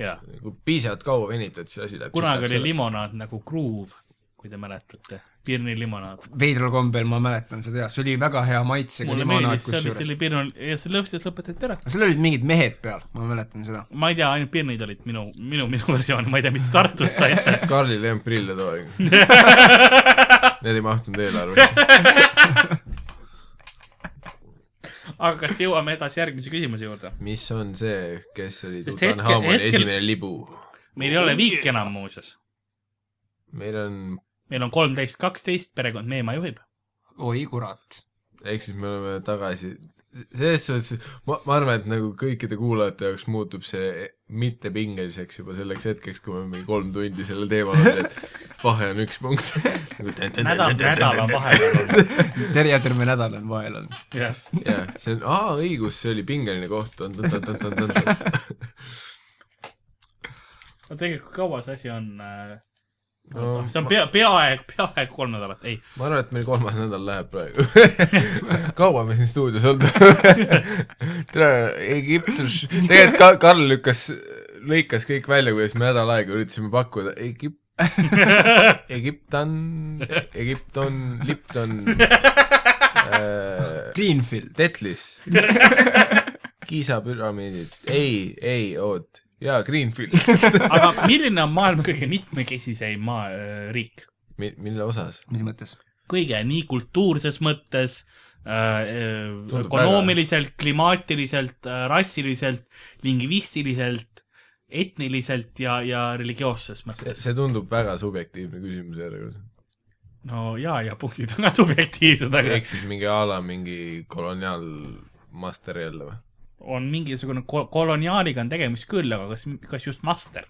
Speaker 3: jaa ,
Speaker 2: kui piisavalt kaua venitad , siis asi läheb
Speaker 3: kunagi oli limonaad nagu Groove , kui te mäletate , Pirni limonaad .
Speaker 4: veidral kombel ma mäletan seda ja see oli väga hea maitsega
Speaker 3: mulle
Speaker 4: limonaad
Speaker 3: meeldis , see oli , see
Speaker 4: kusjuures .
Speaker 3: oli Pirn , ja see lõpetati , lõpetati ära .
Speaker 4: seal olid mingid mehed peal , ma mäletan seda .
Speaker 3: ma ei tea , ainult Pirnid olid minu , minu , minu versioon , ma ei tea , mis te Tartust saite .
Speaker 4: *laughs*
Speaker 3: *laughs*
Speaker 2: Karlil ei olnud prille too aeg . Need ei mahtunud eelarvesse .
Speaker 3: aga kas jõuame edasi järgmise küsimuse juurde ? mis ?
Speaker 2: mis on see , kes oli
Speaker 3: Sest hetke-
Speaker 2: Tutankhamoni
Speaker 3: hetkel-
Speaker 2: hetkel... esimene libu ?
Speaker 3: meil ei ole viiki enam muuseas .
Speaker 2: meil on ,
Speaker 3: meil on kolmteist , kaksteist , perekond Meemaa juhib .
Speaker 4: oi kurat .
Speaker 2: ehk siis me oleme tagasi , selles suhtes , ma , ma arvan , et nagu kõikide kuulajate jaoks muutub see mittepingeliseks juba selleks hetkeks , kui me mingi kolm tundi sellel teemal oleme , et vahe on üks punkt .
Speaker 3: nädal , nädala vahel
Speaker 2: *laughs*
Speaker 3: on .
Speaker 4: terve terve nädal on vahel olnud .
Speaker 3: jah
Speaker 2: jah , see on , aa õigus , see oli pingeline koht , on-on-on-on-on .
Speaker 3: no tegelikult kaua see asi on äh,
Speaker 2: No,
Speaker 3: no, ? see on pea , peaaegu , peaaegu kolm nädalat , ei .
Speaker 2: ma arvan , et meil kolmas nädal läheb praegu . *laughs* kaua me siin stuudios olnud ? *laughs* tere , Egiptus , tegelikult ka Karl lükkas , lõikas kõik välja , kuidas me nädal aega üritasime pakkuda Egip- , Egiptan , Egipton , Lipton äh, ,
Speaker 4: Greenfield .
Speaker 2: Tetlis , Kiisa püramiidid , ei , ei , oot , jaa , Greenfield .
Speaker 3: aga milline on maailma kõige mitmekesiseim maa äh, , riik ?
Speaker 2: mi- , mille osas ?
Speaker 4: mis mõttes ?
Speaker 3: kõige nii kultuurses mõttes äh, ,
Speaker 2: Tundub
Speaker 3: ökonoomiliselt , klimaatiliselt äh, , rassiliselt , lingvistiliselt , etniliselt ja , ja religioosses mõttes .
Speaker 2: see tundub väga subjektiivne küsimus järjekordselt .
Speaker 3: no ja , ja punktid on ka subjektiivsed , aga
Speaker 2: ehk siis mingi a la mingi koloniaalmaster jälle või ?
Speaker 3: on mingisugune ko- koloniaaliga on tegemist küll , aga kas , kas just master ?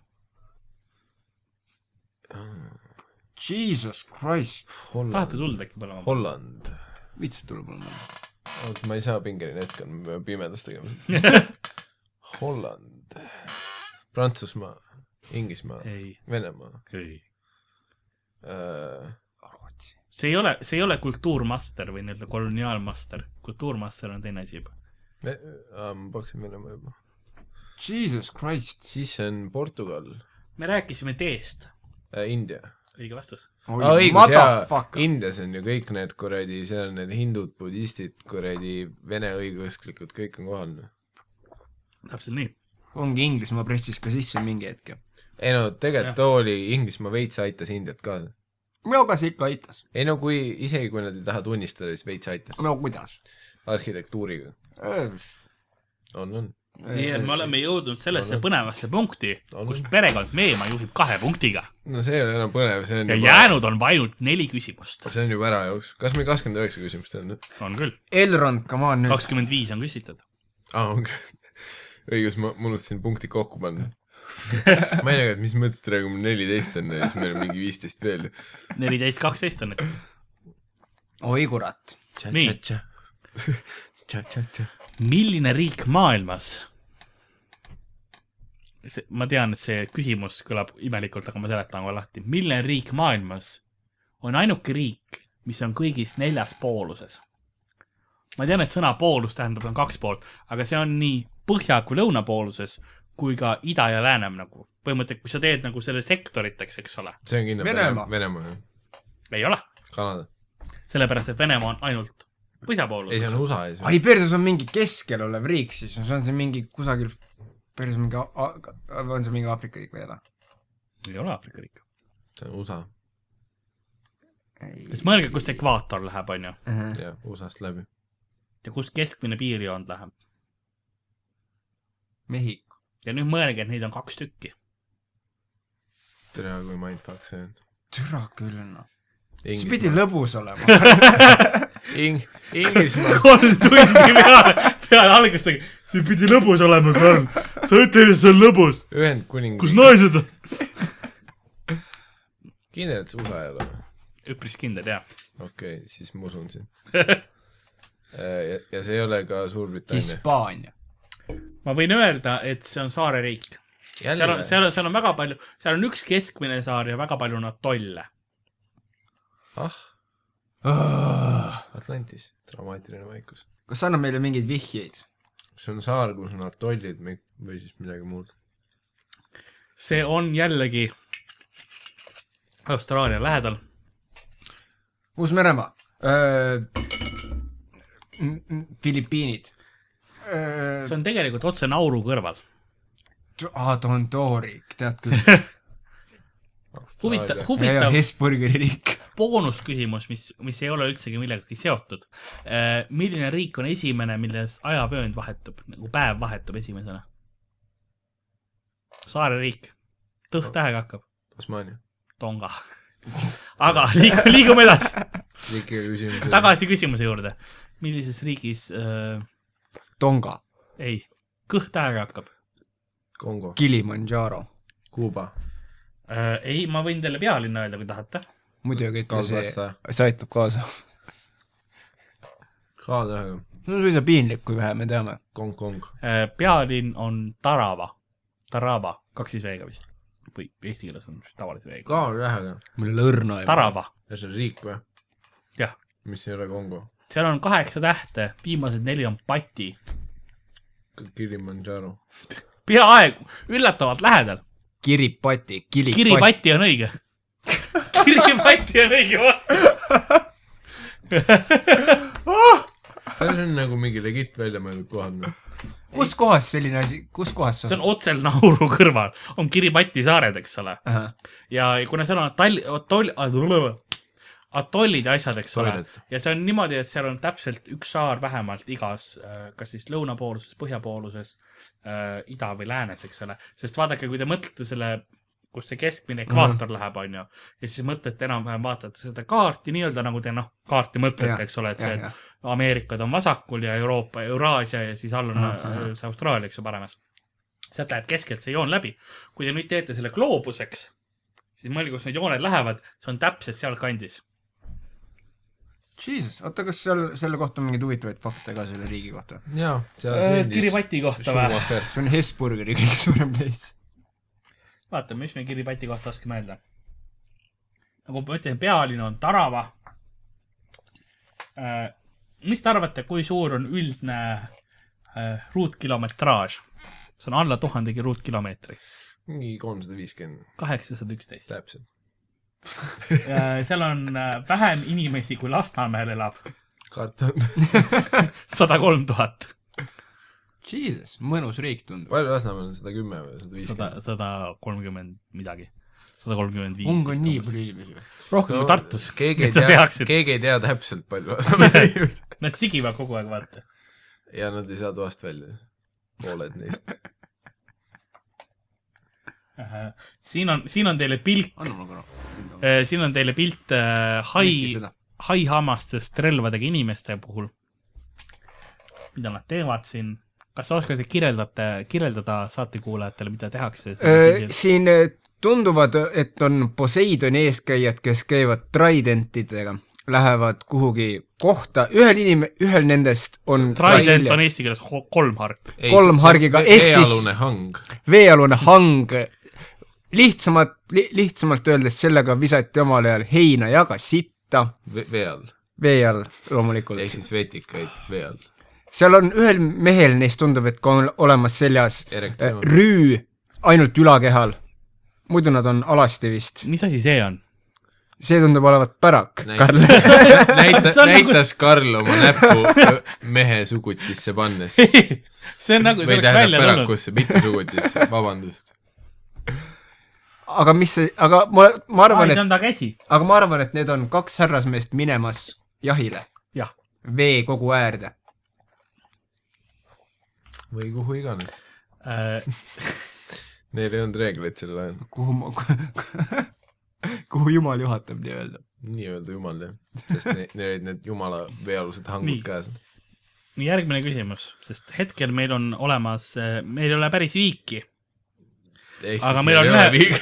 Speaker 4: Jesus Christ .
Speaker 3: tahate tuld äkki põlema ?
Speaker 2: Holland .
Speaker 4: vits tuleb mulle meelde .
Speaker 2: oot , ma ei saa pingeline hetk , me peame pimedas tegema .
Speaker 3: *laughs*
Speaker 2: Holland , Prantsusmaa , Inglismaa ,
Speaker 3: ei ,
Speaker 2: Venemaa
Speaker 3: ei .
Speaker 2: äh, ,
Speaker 4: Rootsi .
Speaker 3: see ei ole , see ei ole kultuurmaster või nii-öelda koloniaalmaster , kultuurmaster on teine asi juba .
Speaker 2: me, äh, ma pakkusin Venemaa juba .
Speaker 4: Jesus Christ .
Speaker 2: siis on Portugal
Speaker 3: me rääkisime teest ,
Speaker 2: äh, , India .
Speaker 3: õige vastus .
Speaker 2: aa , õigus , jaa , Indias on ju kõik need kuradi , seal on need hindud , budistid , kuradi vene õigeusklikud , kõik on kohal . noh.
Speaker 3: täpselt nii .
Speaker 4: ongi Inglismaa pressis ka sisse mingi hetk ju .
Speaker 2: ei no tegelikult
Speaker 3: Jah.
Speaker 2: too oli , Inglismaa veits aitas Indiat ka
Speaker 4: no aga see ikka aitas .
Speaker 2: ei no kui , isegi kui nad ei taha tunnistada , siis veits aitas
Speaker 4: no kuidas ?
Speaker 2: arhitektuuriga . on , on .
Speaker 3: nii et me oleme jõudnud sellesse põnevasse punkti ,
Speaker 2: On.
Speaker 3: kus perekond Meemaa juhib kahe punktiga
Speaker 2: no see ei ole enam põnev , see on
Speaker 3: ja
Speaker 2: juba ,
Speaker 3: jäänud on ainult neli küsimust .
Speaker 2: see on juba ära jooksnud . kas meil kakskümmend üheksa küsimust on nüüd ?
Speaker 3: on küll ,
Speaker 4: Elrond , come on nüüd .
Speaker 3: kakskümmend viis on küsitud .
Speaker 2: *laughs*
Speaker 3: *laughs*
Speaker 2: aa , on küll . õigus , ma , ma unustasin punkti kokku panna . ma ei tea , mis mõttes praegu mul neliteist on ja siis meil on mingi viisteist veel .
Speaker 3: neliteist , kaksteist on , et
Speaker 4: oi kurat .
Speaker 3: Nii. .
Speaker 2: *laughs*
Speaker 3: milline riik maailmas ? see , ma tean , et see küsimus kõlab imelikult , aga ma seletan kohe lahti . milline riik maailmas on ainuke riik , mis on kõigis neljas pooluses ? ma tean , et sõna poolus tähendab , on kaks poolt , aga see on nii põhja kui lõuna pooluses kui ka ida ja lääne nagu . põhimõtteliselt , kui sa teed nagu selle sektoriteks , eks ole ,
Speaker 2: see on kindlalt
Speaker 4: Venemaa.
Speaker 2: Venemaa jah ,
Speaker 3: ei ole ,
Speaker 2: Kanada .
Speaker 3: sellepärast et Venemaa on ainult põhja poolus
Speaker 2: ei ,. see on USA ja siis
Speaker 4: ai , perses on mingi keskel olev riik siis , see on see mingi kusagil , perses mingi , on see mingi Aafrika riik või ei ole ?
Speaker 3: ei ole Aafrika riik .
Speaker 2: see on USA ,
Speaker 4: ei
Speaker 3: siis mõelge , kust ekvaator läheb , onju ,
Speaker 4: Ähä.
Speaker 2: jah , USA-st läbi .
Speaker 3: ja kust keskmine piirjoon läheb .
Speaker 4: Mehhiko .
Speaker 3: ja nüüd mõelge , et neid on kaks tükki .
Speaker 2: tere , kui mindfuck see on .
Speaker 4: türa küll noh . see pidi
Speaker 2: Inglismaa ,
Speaker 4: lõbus olema .
Speaker 2: Ing- , *laughs* Inglismaa ,
Speaker 3: *laughs* kolm tundi peale , peale algust , see pidi lõbus olema , Karl . sa ütled , et see on lõbus .
Speaker 2: Ühendkuningriik ,
Speaker 3: naised on ?
Speaker 2: kindel , et see USA ei ole või ?
Speaker 3: üpris kindel , jah .
Speaker 2: okei okay, , siis ma usun *laughs* sind ja , ja see ei ole ka Suurbritannia .
Speaker 4: Hispaania .
Speaker 3: ma võin öelda , et see on saareriik . seal on , seal on , seal on väga palju , seal on üks keskmine saar ja väga palju on atolle .
Speaker 2: ah , Ah. Atlantis , dramaatiline vaikus .
Speaker 4: kas sa annad meile mingeid vihjeid ?
Speaker 2: see on saar , kus on atollid mi- või siis midagi muud .
Speaker 3: see on jällegi Austraalia lähedal .
Speaker 4: Uus-Meremaa . Filipiinid .
Speaker 3: see on tegelikult otse Nauru kõrval .
Speaker 4: aa , Dondori , tead
Speaker 3: *laughs*
Speaker 4: küll .
Speaker 2: Ah,
Speaker 3: huvitav ,
Speaker 4: ja , ja
Speaker 3: huvitav .
Speaker 4: Hesburgeri riik .
Speaker 3: boonusküsimus , mis , mis ei ole üldsegi millegagi seotud . milline riik on esimene , milles ajavöönd vahetub , nagu päev vahetub esimesena ? saareriik , tõht-tähega hakkab ,
Speaker 2: Tasmaania .
Speaker 3: Tonga . *laughs* aga liigu, liigume edasi ,
Speaker 2: riikliku küsimuse .
Speaker 3: tagasi küsimuse juurde . millises riigis äh, ,
Speaker 4: Tonga ,
Speaker 3: ei , kõht-tähega hakkab
Speaker 2: Kongo ,
Speaker 4: Kilimandžaro .
Speaker 2: Kuuba ,
Speaker 3: äh, ? ei , ma võin teile pealinna öelda , kui tahate .
Speaker 4: muidugi ütle see ,
Speaker 2: Kalbassa ,
Speaker 4: see aitab kaasa .
Speaker 2: K-tähega ,
Speaker 4: see on suisa piinlik , kui vähe me teame .
Speaker 2: Kong-Kong ,
Speaker 3: Äh, pealinn on Tarava , Tarava , kaks siis V-ga vist või eesti keeles on tavalise V-ga .
Speaker 2: K-tähega .
Speaker 4: mul ei ole õrna aimu .
Speaker 3: Tarava ,
Speaker 2: ja see on riik või ?
Speaker 3: jah
Speaker 2: mis ei ole Kongo .
Speaker 3: seal on kaheksa tähte , viimased neli on pati .
Speaker 2: Kilimandžaro .
Speaker 3: peaaegu , üllatavalt lähedal .
Speaker 4: Kiripati , Kiripati .
Speaker 3: kiripati on õige . kiripati on õige vastus .
Speaker 2: see on nagu mingi legit välja mõeldud kohad noh .
Speaker 4: kus kohas selline asi , kus kohas see
Speaker 3: see on
Speaker 4: on ?
Speaker 3: otsel Nauru kõrval , on Kiripati saared , eks ole . ja kuna seal on atoll , atoll , atollid ja asjad , eks ole
Speaker 2: Tollid. .
Speaker 3: ja see on niimoodi , et seal on täpselt üks saar vähemalt igas , kas siis lõunapooluses , põhjapooluses , ida või läänes , eks ole . sest vaadake , kui te mõtlete selle , kus see keskmine ekvaator
Speaker 4: Mhm.
Speaker 3: mm -hmm. läheb , on ju , ja siis mõtlete enam-vähem , vaatate seda kaarti nii-öelda nagu te noh , kaarti mõtlete ,
Speaker 4: Jah,
Speaker 3: eks ole , et
Speaker 4: jah,
Speaker 3: see
Speaker 4: jah.
Speaker 3: Ameerikad on vasakul ja Euroopa , Euraasia ja siis all on äh, see Austraalia , eks ju , paremas . sealt läheb keskelt see joon läbi . kui te nüüd teete selle gloobuseks , siis mõelge , kus need jooned lähevad , see on täpselt sealkandis .
Speaker 4: Jesus , oota , kas seal , selle kohta on mingeid huvitavaid fakte ka selle riigi kohta ?
Speaker 2: jaa , seal
Speaker 4: Äh,
Speaker 3: Kiribati kohta või ?
Speaker 2: Schumacher .
Speaker 4: see on Hesburgeri kõige suurem place .
Speaker 3: vaatame , mis me Kiribati kohta oskame öelda . nagu ma ütlesin , pealinn on Tarava . mis te arvate , kui suur on üldne äh, ruutkilometraaž ? see on alla tuhandegi ruutkilomeetri ,
Speaker 2: mingi kolmsada viiskümmend ,
Speaker 3: kaheksasada *laughs* üksteist .
Speaker 2: täpselt .
Speaker 3: seal on äh, vähem inimesi , kui Lasnamäel elab ,
Speaker 2: kaart on ,
Speaker 3: sada kolm tuhat ,
Speaker 4: Jesus , mõnus riik tundub .
Speaker 2: *laughs* palju Lasnamäel on sada kümme või sada
Speaker 3: sada
Speaker 2: viiskümmend ?,
Speaker 3: sada kolmkümmend midagi , sada kolmkümmend viis .
Speaker 4: on ka nii palju inimesi või ?
Speaker 3: rohkem kui Tartus .
Speaker 2: keegi ei tea , keegi ei tea täpselt ,
Speaker 3: *laughs*
Speaker 2: palju Lasnamäel on just .
Speaker 3: Nad sigivad kogu aeg , vaata .
Speaker 2: ja nad ei saa toast välja , pooled neist .
Speaker 3: Äh, siin on , siin on teile pilt ,
Speaker 4: anna mulle korra .
Speaker 3: Eh, siin on teile pilt äh, hai
Speaker 4: Näita seda. ,
Speaker 3: haihammastest relvadega inimeste puhul . mida nad teevad siin , kas sa oskad kirjeldada , kirjeldada saatekuulajatele , mida tehakse ?
Speaker 4: Äh, siin eh, tunduvad , et on Poseidoni eeskäijad , kes käivad tridentidega , lähevad kuhugi kohta , ühel inim- , ühel nendest on
Speaker 3: Trident on
Speaker 4: Gallia-
Speaker 3: eesti keeles ho- kolm harki .
Speaker 4: kolm hargiga, ehk siis-
Speaker 2: veealune hang .
Speaker 4: veealune hang , lihtsamalt li, , lihtsamalt öeldes sellega visati omal ajal heina ja ka sitta
Speaker 2: vee all .
Speaker 4: vee all loomulikult
Speaker 2: ehk . siis veetikaid vee all .
Speaker 4: seal on ühel mehel neist tundub , et ka on olemas seljas eh,
Speaker 2: Erektsioon.
Speaker 4: rüü ainult ülakehal . muidu nad on alasti vist .
Speaker 3: mis asi see
Speaker 4: *laughs*
Speaker 3: on ?
Speaker 4: see tundub olevat pärak ,
Speaker 2: Näis.
Speaker 4: Karl . *laughs*
Speaker 3: See
Speaker 2: näita ,
Speaker 3: on nagu-
Speaker 2: näitas Karl oma näppu mehe sugutisse
Speaker 4: *laughs*
Speaker 2: pannes .
Speaker 3: see on nagu ,
Speaker 2: või
Speaker 3: see oleks
Speaker 2: tähendab
Speaker 3: välja tulnud .
Speaker 2: pärakusse , mitte
Speaker 3: *laughs*
Speaker 2: sugutisse , vabandust .
Speaker 4: aga mis see , aga ma , ma
Speaker 3: aa ,
Speaker 4: arvan ,
Speaker 3: see
Speaker 4: et ,
Speaker 3: on ta käsi .
Speaker 4: aga ma arvan , et need on kaks härrasmeest minemas jahile
Speaker 3: jah .
Speaker 4: veekogu äärde .
Speaker 2: või kuhu iganes .
Speaker 3: Äh,
Speaker 2: Neil ei olnud reegleid sel ajal .
Speaker 4: kuhu ma , *laughs* kuhu jumal juhatab nii-öelda .
Speaker 2: nii-öelda jumal jah , sest ne- neil olid need jumala veealused hangud
Speaker 3: Nii.
Speaker 2: käes .
Speaker 3: nii , järgmine küsimus , sest hetkel meil on olemas , meil ei ole päris viiki . Aga meil on ühe-
Speaker 2: viik .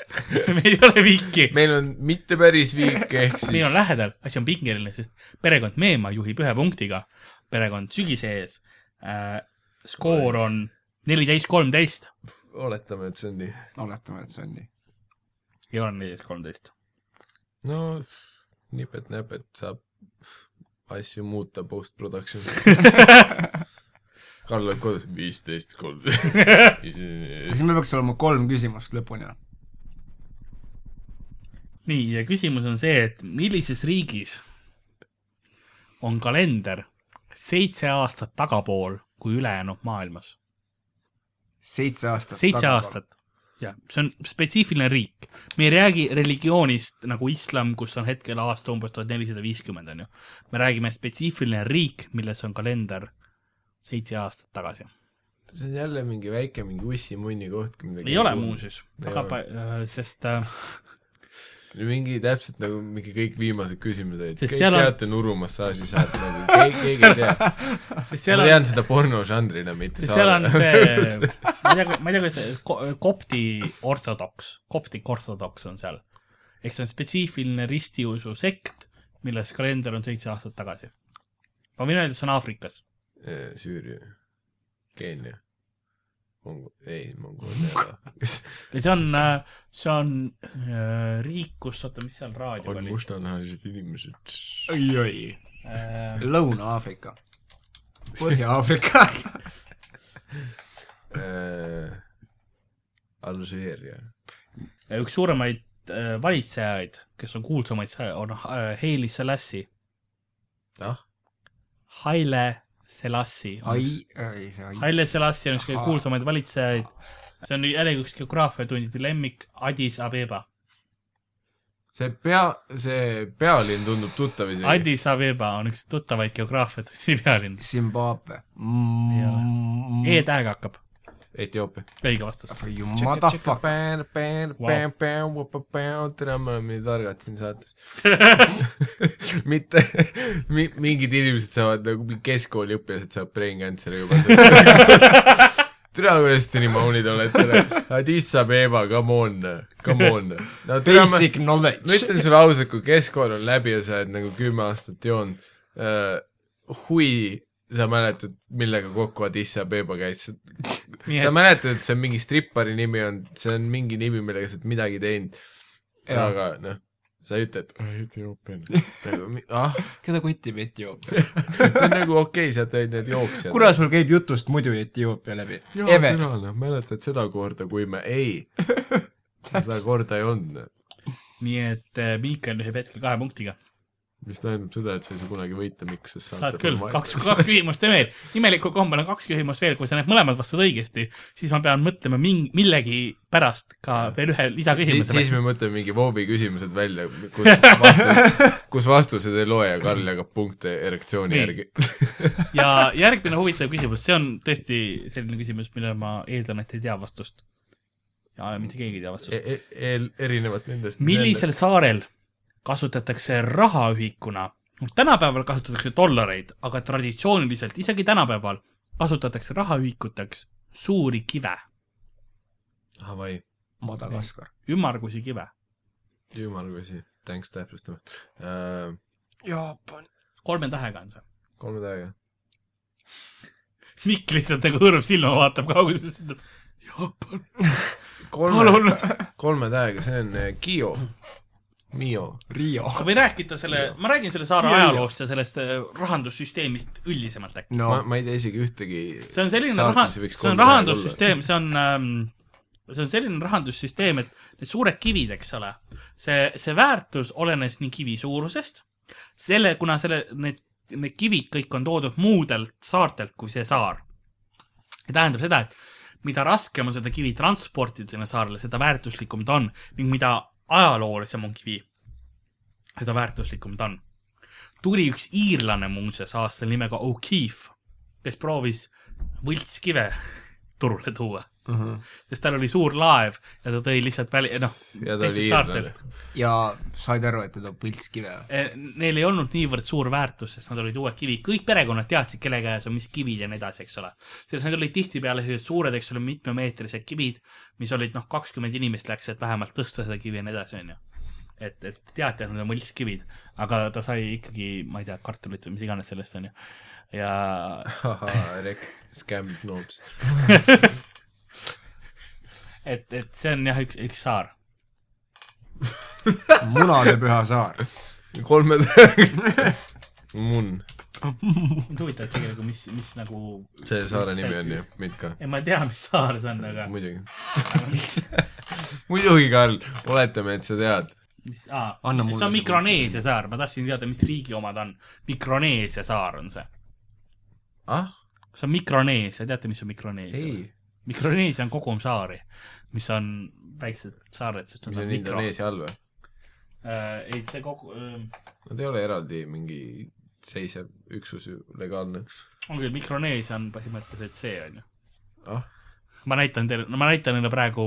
Speaker 3: *laughs* meil ei ole viiki .
Speaker 2: meil on mitte päris viik , ehk siis
Speaker 3: meil on lähedal , asi on pingeline , sest perekond Meemaa juhib ühe punktiga , perekond Sügise ees äh, . skoor on neliteist , kolmteist .
Speaker 2: oletame , et see on nii .
Speaker 4: oletame , et see on nii .
Speaker 3: ei ole neliteist , kolmteist .
Speaker 2: no nipet-näpet saab asju muuta
Speaker 3: *laughs*
Speaker 2: post-production . Karl on kodus viisteist ,
Speaker 3: *laughs*
Speaker 2: kolmteist .
Speaker 4: siis meil peaks olema kolm küsimust lõpuni . noh.
Speaker 3: nii , ja küsimus on see , et millises riigis on kalender seitse aastat tagapool kui ülejäänud maailmas ?
Speaker 4: seitse aastat .
Speaker 3: seitse . aastat . jah , see on spetsiifiline riik . me ei räägi religioonist nagu islam , kus on hetkel aasta umbes tuhat nelisada viiskümmend , on ju . me räägime spetsiifiline riik , milles on kalender seitse aastat tagasi .
Speaker 2: see on jälle mingi väike mingi ussimunni koht .
Speaker 3: ei ole muuseas , väga
Speaker 2: ole.
Speaker 3: palju , sest äh,
Speaker 2: mingi täpselt nagu mingi kõik viimased küsimused olid ,
Speaker 3: Sest
Speaker 2: kõik
Speaker 3: seal on-
Speaker 2: teate on... nurumassaaži sealt nagu , keegi , keegi ei tea .
Speaker 3: *laughs* sest seal
Speaker 2: ma
Speaker 3: on
Speaker 2: tean seda pornožanrina , mitte
Speaker 3: sest seal on see
Speaker 2: *laughs* saada . ,
Speaker 3: ma ei tea , ma ei tea , kuidas see ko- kopti ortodoks , koptik ortodoks on seal . ehk see on spetsiifiline ristiusu sekt , milles kalender on seitse aastat tagasi . ma võin öelda , et see on Aafrikas .
Speaker 2: Süüria , Keenia , Mongo- , ei , Mongoolia
Speaker 3: ja see on , see on äh, riik , kus , oota , mis seal raadio
Speaker 2: *laughs* on
Speaker 3: oli ?
Speaker 2: mustanahalised inimesed .
Speaker 4: oi-oi .
Speaker 3: Äh,
Speaker 4: Lõuna-Aafrika .
Speaker 3: *laughs*
Speaker 4: Põhja-Aafrika .
Speaker 2: Äh, Alžeeria ,
Speaker 3: üks suuremaid äh, valitsejaid , kes on kuulsamaid , on äh, Haile Selassie ,
Speaker 2: ah ,
Speaker 3: Haile Selassie .
Speaker 4: ai , ai , see ai .
Speaker 3: Haile Selassie on üks kõige
Speaker 4: Ahaa.
Speaker 3: kuulsamaid valitsejaid . see on jällegi üks geograafiatundide lemmik , Addis Abeba .
Speaker 2: see pea , see pealinn tundub tuttav isegi .
Speaker 3: Addis Abeba on üks tuttavaid geograafiatundi pealinn .
Speaker 4: Zimbabwe . Mm.
Speaker 3: Ei ole.
Speaker 2: Mm.
Speaker 3: E-tähega hakkab ,
Speaker 2: Etioopia .
Speaker 3: õige vastus .
Speaker 4: Motherfuck .
Speaker 3: Wow.
Speaker 2: tere , me oleme nii targad siin saates mitte mi, , mingid inimesed saavad nagu mingi keskkooliõpilased saavad brain cancer'i juba . tere , kuidas te nii maunid olete . Addis Abeba , come on , come on no, .
Speaker 4: Basic
Speaker 2: ma
Speaker 4: knowledge .
Speaker 2: ütlen sulle ausalt , kui keskkool on läbi ja sa oled nagu kümme aastat joonud uh, , hui , sa mäletad , millega kokku Addis Abeba käis .
Speaker 3: Nii
Speaker 2: sa
Speaker 3: et-
Speaker 2: mäletad , et see on mingi strippari nimi olnud , see on mingi nimi , millega sa oled midagi teinud .
Speaker 4: Jaa.
Speaker 2: aga noh , sa ütled , Etioopia , nagu mi- ah ,
Speaker 4: keda kutib Etioopia ?
Speaker 2: see *laughs* on nagu okei okay, , sealt olid need jooksjad .
Speaker 4: kuna sul käib jutust muidu Etioopia läbi ?
Speaker 2: jaa ,
Speaker 4: Eve ,
Speaker 2: täna , noh , mäletad seda korda , kui me , ei ,
Speaker 3: *laughs*
Speaker 2: seda korda ei olnud . noh.
Speaker 3: nii et äh, Miikael üheb hetkel kahe punktiga .
Speaker 2: mis tähendab seda , et sa ei saa kunagi võita , miks , sest
Speaker 3: saad küll , kaks , kaks küsimust veel . imelikul kombel on kaks küsimust veel , kui sa need mõlemad vastad õigesti , siis ma pean mõtlema mingi , millegi pärast ka veel ühe
Speaker 2: siis ,
Speaker 3: lisaküsimuse
Speaker 2: siis . me mõtleme mingi voobi küsimused välja , kus
Speaker 3: *laughs*
Speaker 2: vastused , kus vastused ei loe ja Karl jagab punkte erektsiooni
Speaker 3: Nii.
Speaker 2: järgi . *laughs*
Speaker 3: ja järgmine huvitav küsimus , see on tõesti selline küsimus , millele ma eeldan , et ei tea vastust . ja mitte keegi ei tea vastust .
Speaker 2: E-, eel , erinevalt nendest .
Speaker 3: millisel saarel kasutatakse rahaühikuna ? tänapäeval kasutatakse dollareid , aga traditsiooniliselt , isegi tänapäeval kasutatakse rahaühikuteks suuri kive ,
Speaker 2: Hawaii ,
Speaker 4: Madagaskar .
Speaker 3: ümmargusi kive ,
Speaker 2: jumal kui asi , thanks täpsustame uh, .
Speaker 4: Jaapan .
Speaker 3: kolme tähega on see .
Speaker 2: kolme täiega .
Speaker 3: Mikk lihtsalt nagu hõõrub silma , vaatab kaugusest , ütleb Jaapan ,
Speaker 2: kolme ,
Speaker 3: palun .
Speaker 2: kolme täiega , see on eh, Kio , Mio .
Speaker 4: Riia .
Speaker 3: ma võin rääkida selle , ma räägin selle saare ajaloost ja sellest eh, rahandussüsteemist üldisemalt äkki .
Speaker 4: no
Speaker 2: ma , ma ei tea isegi ühtegi .
Speaker 3: see on selline raha , see on . rahandussüsteem , see on ähm, , see on selline rahandussüsteem , et need suured kivid , eks ole , see , see väärtus olenes nii kivi suurusest , selle , kuna selle , need , need kivid kõik on toodud muudelt saartelt kui see saar . see tähendab seda , et mida raskem on seda kivi transportida sinna saarele , seda väärtuslikum ta on ning mida ajaloolisem on kivi , seda väärtuslikum ta on . tuli üks iirlane muuseas aastal nimega O'Keefe , kes proovis võltskive *laughs* turule tuua ,
Speaker 4: uh .
Speaker 2: Mhm.
Speaker 4: -huh.
Speaker 3: sest tal oli suur laev ja ta tõi lihtsalt väli , noh ,
Speaker 2: ja ta oli
Speaker 3: teistelt
Speaker 2: iirlane
Speaker 3: saartelt ..
Speaker 4: ja said aru , et ta toob võltskive ?
Speaker 3: Eh, Neil ei olnud niivõrd suur väärtus , sest nad olid uued kivid , kõik perekonnad teadsid , kelle käes on mis kivid ja nii edasi , eks ole . selles need olid tihtipeale sellised suured , eks ole , mitmemeetrised kivid , mis olid noh , kakskümmend inimest läks , et vähemalt tõsta seda kivi ja nii edasi , onju . et , et teati , et need on võltskivid , aga ta sai ikkagi , ma ei tea , kartulit või mis iganes sellest , onju . ja *laughs*
Speaker 2: ahah , rekt- , scammed noobs .
Speaker 3: et , et see on jah , üks , üks saar .
Speaker 4: munade püha saar .
Speaker 2: kolme täiega .
Speaker 3: *laughs*
Speaker 2: Mun ,
Speaker 3: mind huvitab tegelikult , mis , mis nagu .
Speaker 2: selle saare nimi on ju , Mitka .
Speaker 3: ei , ma ei tea , mis saar see on , aga
Speaker 2: muidugi . muidugi , Karl , oletame , et sa tead .
Speaker 3: mis , aa
Speaker 4: Anna , mulle
Speaker 3: see on
Speaker 4: see
Speaker 3: Mikroneesia saar , ma tahtsin teada , mis riigi oma ta on . Mikroneesia saar on see .
Speaker 2: ah ,
Speaker 3: see on Mikroneesia , teate , mis on Mikroneesia ?
Speaker 2: ei ,
Speaker 3: Mikroneesia on kogum saari , mis on väiksed saared , sest
Speaker 2: mis on . Indoneesia all või ?
Speaker 3: Äh, ei , see kogu , ähm,
Speaker 2: Nad ei ole eraldi mingi seisev üksus ju legaalne .
Speaker 3: on küll , Mikroneesia on põhimõtteliselt see , on ju .
Speaker 2: ah ,
Speaker 3: ma näitan teile , no ma näitan neile praegu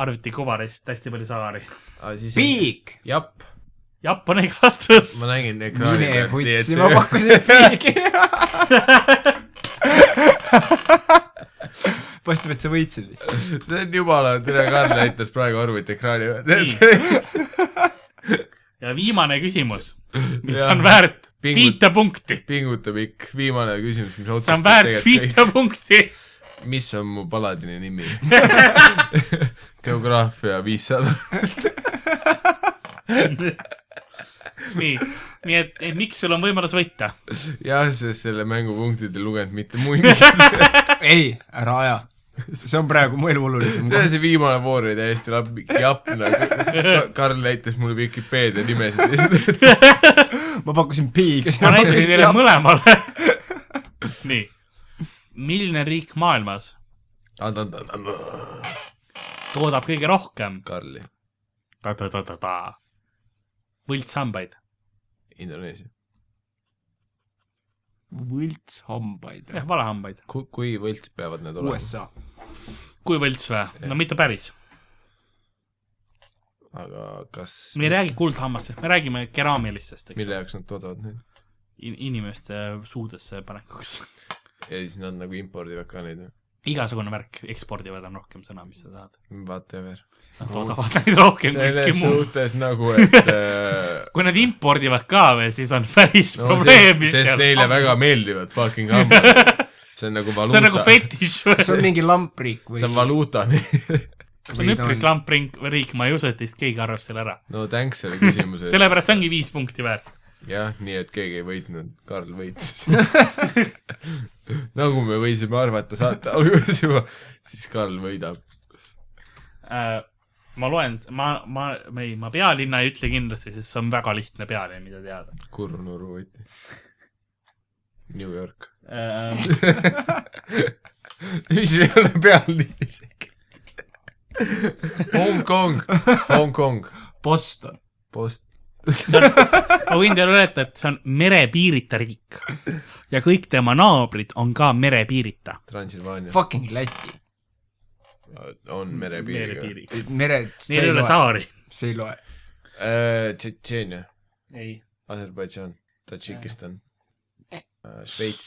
Speaker 3: arvutikuvarist hästi palju saari .
Speaker 2: ah , siis .
Speaker 4: piik .
Speaker 2: japp ,
Speaker 3: Jaapan ehk *laughs* vastus .
Speaker 2: ma nägin ekraani
Speaker 4: mine
Speaker 2: pealt , et
Speaker 4: vutsi ,
Speaker 2: see
Speaker 4: ma pakkusin piiki . paistab , et sa võitsid vist .
Speaker 2: *laughs* see on jumala , tere , Karl näitas praegu arvutiekraani *laughs* pealt .
Speaker 3: ja viimane küsimus , mis
Speaker 2: Jah.
Speaker 3: on väärt
Speaker 2: Pingut-
Speaker 3: viite punkti .
Speaker 2: pingutab ikka , viimane küsimus , mis
Speaker 3: see on
Speaker 2: otsustab
Speaker 3: väärt viite punkti . *laughs*
Speaker 2: kõik , mis on mu paladini nimi ? geograafia viissada .
Speaker 3: nii , nii et, et miks sul on võimalus võita ?
Speaker 2: jah , sest selle mängu punktid ei lugenud mitte muingi .
Speaker 3: *laughs*
Speaker 4: ei , ära aja . see on praegu mu elu olulisem
Speaker 2: tere ,
Speaker 4: koht .
Speaker 2: see viimane voor oli täiesti lap- , japp nagu . Karl näitas mulle Vikipeedia
Speaker 3: *laughs*
Speaker 2: nimesid .
Speaker 4: ma pakkusin piiki . *laughs*
Speaker 3: ma näitan teile . mõlemale . *laughs* nii , milline riik maailmas toodab kõige rohkem
Speaker 2: Karli ,
Speaker 3: ta-ta-ta-ta-ta võltssambaid ?
Speaker 2: Indoneesia .
Speaker 4: võltshambaid .
Speaker 3: jah , valehambaid .
Speaker 2: kui , kui võlts peavad need olema ?
Speaker 4: USA .
Speaker 3: kui võlts või ? no mitte päris .
Speaker 2: aga kas ,
Speaker 3: me ei räägi kuldhammastest , me räägime keraamilistest , eks
Speaker 2: mille . jaoks nad toodavad neid ?
Speaker 3: In- inimeste suudesse panekuks . *laughs*
Speaker 2: ja siis nad nagu impordivad ka neid ,
Speaker 3: igasugune värk , ekspordivad on rohkem sõna , mis sa tahad .
Speaker 2: vaata ja veel .
Speaker 3: Nad toodavad *laughs* neid rohkem kui
Speaker 2: selles
Speaker 3: ükski muu .
Speaker 2: suhtes nagu ,
Speaker 3: *laughs*
Speaker 2: et äh,
Speaker 3: kui nad impordivad ka veel , siis on päris
Speaker 2: no, sest,
Speaker 3: no, probleem , mis
Speaker 2: sest neile väga meeldivad fucking hambad .
Speaker 3: *laughs*
Speaker 2: see on nagu
Speaker 3: see on nagu
Speaker 2: valuuta ,
Speaker 3: fetiš või ?
Speaker 4: see on mingi lampriik või
Speaker 2: see ? on valuuta . *laughs*
Speaker 3: see on üpris lampriik , riik , ma ei usu , et teist keegi arvab selle ära .
Speaker 2: no thanks selle
Speaker 3: *laughs*
Speaker 2: küsimuse eest .
Speaker 3: sellepärast see ongi viis punkti väärt .
Speaker 2: jah , nii et keegi ei võitnud , Karl võitis . nagu me võisime arvata saate alguses juba , siis Karl võidab .
Speaker 3: Äh, ma loen , ma , ma , ma ei , ma pealinna ei ütle kindlasti , sest see on väga lihtne pealinn , mida teada .
Speaker 2: kurnuru võitis . New York .
Speaker 3: Äh,
Speaker 2: *laughs* mis ei ole pealinn isegi . Hongkong , Hongkong ,
Speaker 4: Boston .
Speaker 2: post ,
Speaker 4: *laughs*
Speaker 3: ma võin teile öelda , et see on merepiirita riik ja kõik tema naabrid on ka merepiirita .
Speaker 2: Transilvaania
Speaker 4: Fucking Läti .
Speaker 2: on merepiiriga .
Speaker 3: merepiiriga .
Speaker 4: mered .
Speaker 3: Neil ei ole . saari .
Speaker 4: see ei loe .
Speaker 2: Äh, Tšetšeenia ,
Speaker 3: ei .
Speaker 2: Aserbaidžaan , Tadžikistan , Äh, Šveits ,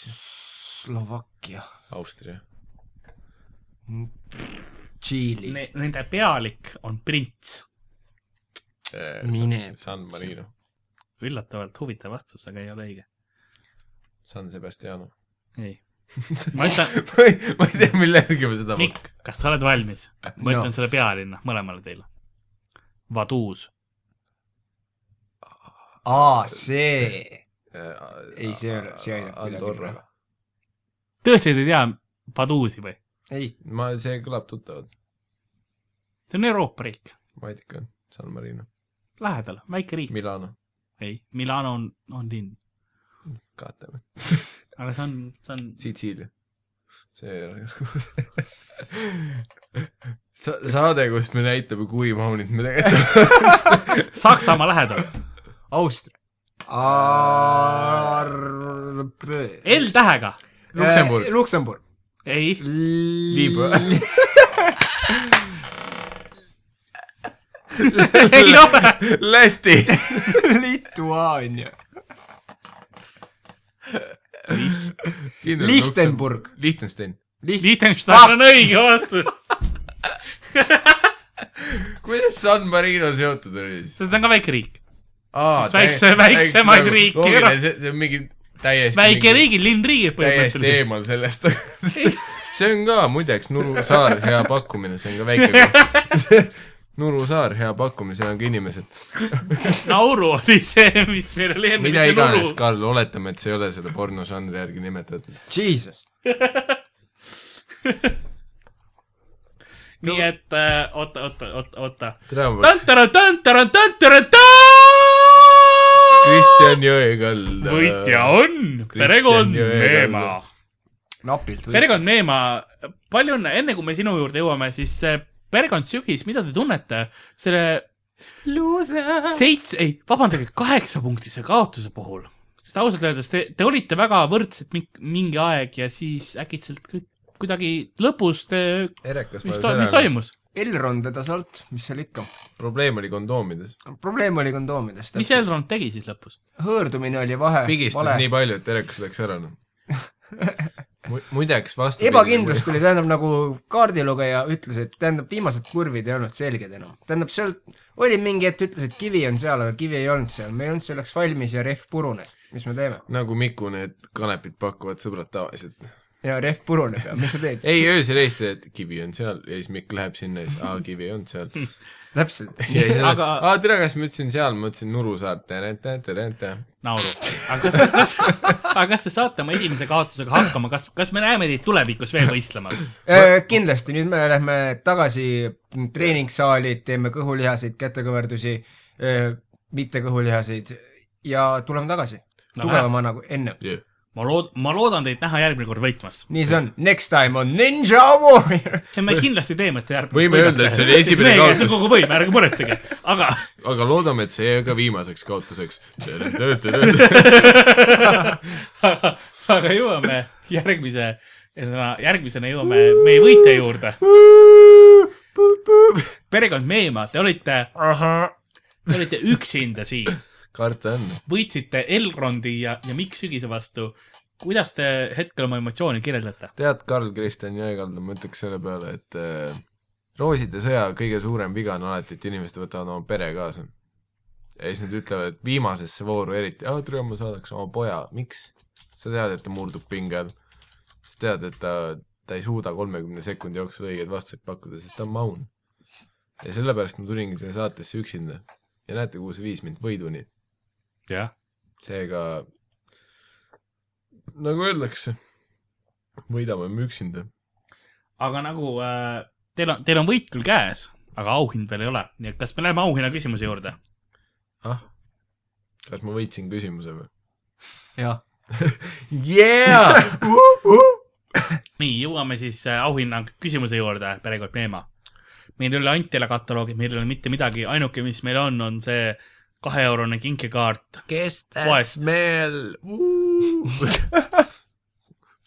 Speaker 4: Slovakkia ,
Speaker 2: Austria .
Speaker 4: Tšiili ne... ,
Speaker 3: Nende pealik on prints .
Speaker 4: Mine-
Speaker 2: Äh, San Marino ,
Speaker 3: üllatavalt huvitav vastus , aga ei ole õige .
Speaker 2: San Sebastiano .
Speaker 3: ei . ma ütlen ,
Speaker 2: *laughs* ma ei , ma ei tea , mille järgi ma seda .
Speaker 3: Mikk , kas sa oled valmis ? ma
Speaker 4: No.
Speaker 3: ütlen selle pealinna mõlemale teile . Vaduus .
Speaker 4: aa , see ,
Speaker 2: ei
Speaker 4: ei , see ei ole , see ei ole
Speaker 2: Äh, Andorra .
Speaker 3: tõesti te ei tea Vaduusi või ?
Speaker 4: ei ,
Speaker 2: ma , see kõlab tuttavalt .
Speaker 3: see on Euroopa riik ,
Speaker 2: Vatikan , San Marino ,
Speaker 3: lähedal , väike riik .
Speaker 2: Milano ,
Speaker 3: ei , Milano on , on linn ,
Speaker 2: Katame ,
Speaker 3: aga see on , see on ,
Speaker 2: *laughs* Sitsiilia . see ei ole *laughs* Sa- , saade , kus me näitame , kui maunid me tegelikult
Speaker 3: Saksamaa
Speaker 2: *laughs*
Speaker 3: *laughs* lähedal .
Speaker 4: Austria .
Speaker 3: L tähega .
Speaker 2: Luksemburg.
Speaker 4: Äh, Luksemburg .
Speaker 3: ei ,
Speaker 2: Liibüa .
Speaker 3: *laughs*
Speaker 4: *laughs*
Speaker 3: ei ole .
Speaker 2: Läti .
Speaker 4: *laughs* Lituaania . Lichtenburg. .
Speaker 2: Liechtenstein .
Speaker 3: Liechtenstein on õige vastus ,
Speaker 2: kuidas San Marino seotud oli siis ?
Speaker 3: sest ta on ka väike riik .
Speaker 2: Aa,
Speaker 3: Üks väikse- väiksemaid riike,
Speaker 2: loogiline,
Speaker 3: kurat.
Speaker 2: nagu see , see on mingi täiesti
Speaker 3: väike
Speaker 2: mingi,
Speaker 3: riigid , linn riigid
Speaker 2: täiesti
Speaker 3: põhimõtteliselt .
Speaker 2: eemal sellest *laughs* see on ka muideks Nuru saar hea pakkumine , see on ka väike koht
Speaker 3: *laughs*
Speaker 2: Nuru saar hea pakkumine , seal on ka inimesed ,
Speaker 3: Nauru oli see , mis meil oli enne .
Speaker 2: mida iganes ,. Karl , oletame , et see ei ole selle pornožanri järgi nimetatud .
Speaker 4: Jesus .
Speaker 3: nii et äh, oota , oota , oota , oota .
Speaker 2: tere hommikust ,
Speaker 3: tantara-tantara-tantara-tantara-tantara .
Speaker 2: Kristjan Jõekald .
Speaker 3: võitja on
Speaker 2: Kristjan
Speaker 3: perekond
Speaker 2: Jõekalda.
Speaker 3: Meemaa .
Speaker 4: napilt võitsin .
Speaker 3: perekond Meemaa , palju õnne , enne kui me sinu juurde jõuame , siis äh, perekond Sügis , mida te tunnete selle seitse , ei , vabandage , kaheksa punktise kaotuse puhul , sest ausalt öeldes te , te olite väga võrdsed ming- mingi aeg ja siis äkitselt kõik kuidagi lõpus te ,
Speaker 2: Erekas
Speaker 3: mis
Speaker 2: vajus
Speaker 3: to- , mis
Speaker 2: ära ,
Speaker 3: toimus ,
Speaker 4: Elron teda salt , mis seal ikka .
Speaker 2: probleem oli kondoomides .
Speaker 4: probleem oli kondoomidest .
Speaker 3: mis ? Elrond tegi siis lõpus ?
Speaker 4: hõõrdumine oli vahe .
Speaker 2: pigistas vale. nii palju , et Erekas läks ära , noh . muideks vastu .
Speaker 4: ebakindlus tuli , tähendab nagu kaardilugeja ütles , et tähendab , viimased kurvid ei olnud selged enam . tähendab , seal oli mingi hetk ütles , et kivi on seal , aga kivi ei olnud seal , me ei olnud selleks valmis ja rehv purunes . mis me teeme ?
Speaker 2: nagu Miku need kanepid pakuvad sõbrad tavaliselt .
Speaker 4: ja rehv puruneb ja mis sa
Speaker 2: *laughs*
Speaker 4: teed ?
Speaker 2: ei , öösel helistada , et kivi on seal ja siis Mikk läheb sinna ja siis , aa , kivi ei olnud
Speaker 3: *laughs*
Speaker 2: seal .
Speaker 4: täpselt .
Speaker 2: ja siis nad
Speaker 3: Aga- ,
Speaker 2: aa , tere , kas ma ütlesin seal , ma ütlesin Nuru saart , tere , tere , tere , tere .
Speaker 3: nauru . aga kas, kas , aga kas te saate oma esimese kaotusega hakkama , kas , kas me näeme teid tulevikus veel võistlemas ?
Speaker 4: Äh, kindlasti , nüüd me lähme tagasi treeningsaali , teeme kõhulihaseid , kätekõverdusi , mitte kõhulihaseid ja tuleme tagasi
Speaker 3: No
Speaker 4: no, tugevamana kui enne .
Speaker 3: ma lood- , ma loodan teid näha järgmine kord võitmas .
Speaker 4: nii see on , next time on Ninja Warrior .
Speaker 3: ja me kindlasti teeme , et te järgmine
Speaker 2: Võime öelda, et see oli esimene kaotus.
Speaker 3: kogu võim , ärge muretsege , aga
Speaker 2: aga loodame , et see ei jää ka viimaseks kaotuseks . tere , tere ,
Speaker 3: *laughs*
Speaker 2: tere .
Speaker 3: aga, aga jõuame järgmise , ühesõnaga järgmisena jõuame meie võitja
Speaker 2: *laughs*
Speaker 3: juurde . perekond Meemaa , te olite , te olite üksinda siin ,
Speaker 2: karta on .
Speaker 3: võitsite Elrondi ja , ja Mikk Sügise vastu . kuidas te hetkel oma emotsioone kirjeldate ?
Speaker 2: tead , Karl-Kristjan Jõekalda , ma ütleks selle peale , et äh, rooside sõja kõige suurem viga on alati , et inimesed võtavad oma pere kaasa . ja siis nad ütlevad , et viimasesse vooru eriti , aa , tule ma saadaks oma poja , miks ? sa tead , et ta murdub pinge all . sa tead , et ta , ta ei suuda kolmekümne sekundi jooksul õigeid vastuseid pakkuda , sest ta on maun . ja sellepärast ma tulingi siia saatesse üksinda . ja näete , kuhu see viis mind , võiduni .
Speaker 3: jah ,
Speaker 2: seega nagu öeldakse , võidame me üksinda
Speaker 3: aga nagu äh, teil on , teil on võit küll käes , aga auhind veel ei ole , nii et kas me läheme auhinna küsimuse juurde ?
Speaker 2: ah , kas ma võitsin küsimuse või ?
Speaker 4: jah .
Speaker 2: *laughs* Yeah!
Speaker 3: nii , jõuame siis äh, auhinna küsimuse juurde , perekond Meemaa . meil ei ole Antila kataloogi , meil ei ole mitte midagi , ainuke , mis meil on , on see kaheeurone kinkekaart .
Speaker 2: kes
Speaker 3: Poest.
Speaker 2: smell ?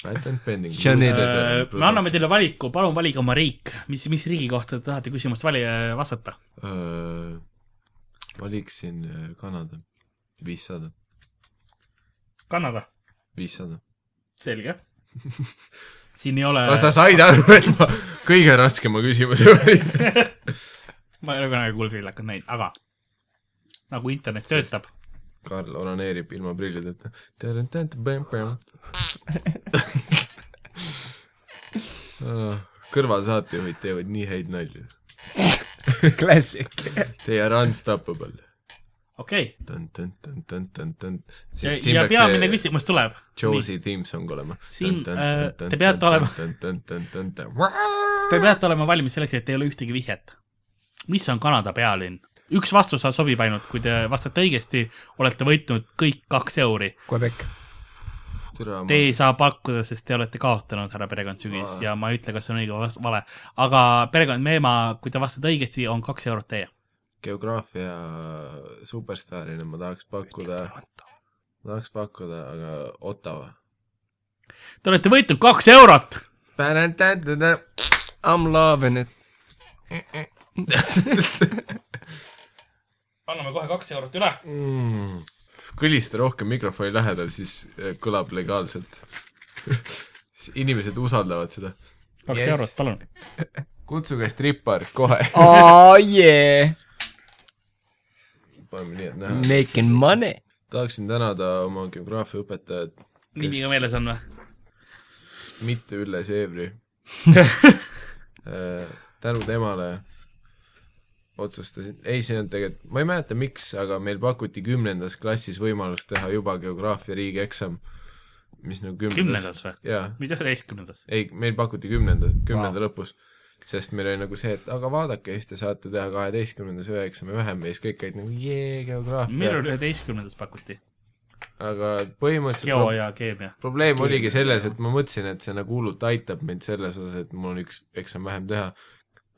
Speaker 2: Bat and pending .
Speaker 4: Chanel.
Speaker 3: Äh, me anname teile . valiku , palun valige oma riik , mis , mis riigi kohta te tahate küsimust vali- , vastata .
Speaker 2: Äh, valiksin äh, Kanada , viissada ,
Speaker 3: Kanada .
Speaker 2: viissada .
Speaker 3: selge . siin ei ole ,
Speaker 2: kas sa said aru , et ma kõige raskema küsimuse valin ?
Speaker 3: ma ei ole kunagi kuldvillakut näinud , aga nagu internet töötab ,
Speaker 2: Karl onaneerib ilma prillideta . kõrvalsaatejuhid Ah, teevad nii häid nalju .
Speaker 4: *laughs* Classic .
Speaker 2: They are unstoppable .
Speaker 3: okei . ja , ja peamine
Speaker 2: peamine
Speaker 3: küsimus tuleb .
Speaker 2: Josie Teamsong olema .
Speaker 3: Siin, äh, te peate olema- . Te peate olema valmis selleks , et ei ole ühtegi vihjet . mis on Kanada pealinn ? üks vastus sobib ainult , kui te vastate õigesti , olete võitnud kõik kaks euri .
Speaker 4: Quebec .
Speaker 3: Te ei saa pakkuda , sest te olete kaotanud , härra perekond sügis
Speaker 2: Aa.
Speaker 3: ja ma ei ütle , kas see on õige või vale , aga perekond Meema , kui te vastate õigesti , on kaks eurot teie .
Speaker 2: geograafia superstaarina ma tahaks pakkuda , ma tahaks pakkuda , aga Ottawa .
Speaker 3: Te olete võitnud kaks eurot .
Speaker 4: I m loving *laughs* it .
Speaker 3: anname kohe kaks eurot üle .
Speaker 2: kõlista Mm. rohkem mikrofoni lähedal , siis äh, kõlab legaalselt . *laughs* inimesed usaldavad seda .
Speaker 3: kaks
Speaker 2: Yes.
Speaker 3: yes. eurot , palun .
Speaker 2: kutsuge strippar kohe .
Speaker 4: Oh yeah ,
Speaker 2: paneme nii , et näha .
Speaker 4: making money .
Speaker 2: tahaksin tänada oma geograafiaõpetajat ,
Speaker 3: nimi ka meeles on või ?
Speaker 2: mitte Ülle Seebri Äh, tänu temale otsustasin , ei , see on tegelikult , ma ei mäleta , miks , aga meil pakuti kümnendas klassis võimalust teha juba geograafia riigieksam , mis nagu kümnendas
Speaker 3: kümnendas . või ?
Speaker 2: jaa ,
Speaker 3: mitte üheteistkümnendas .
Speaker 2: ei , meil pakuti kümnenda , kümnenda lõpus , sest meil oli nagu see , et aga vaadake , siis te saate teha kaheteistkümnendas ühe eksami vähem ja siis kõik olid nagu jee ,
Speaker 3: millal
Speaker 2: geograafia ,
Speaker 3: üheteistkümnendas pakuti ?
Speaker 2: aga põhimõtteliselt noh,
Speaker 3: geo ja keemia .
Speaker 2: probleem oligi selles , et ma mõtlesin , et see nagu hullult aitab mind selles osas , et mul on üks eksam vähem teha ,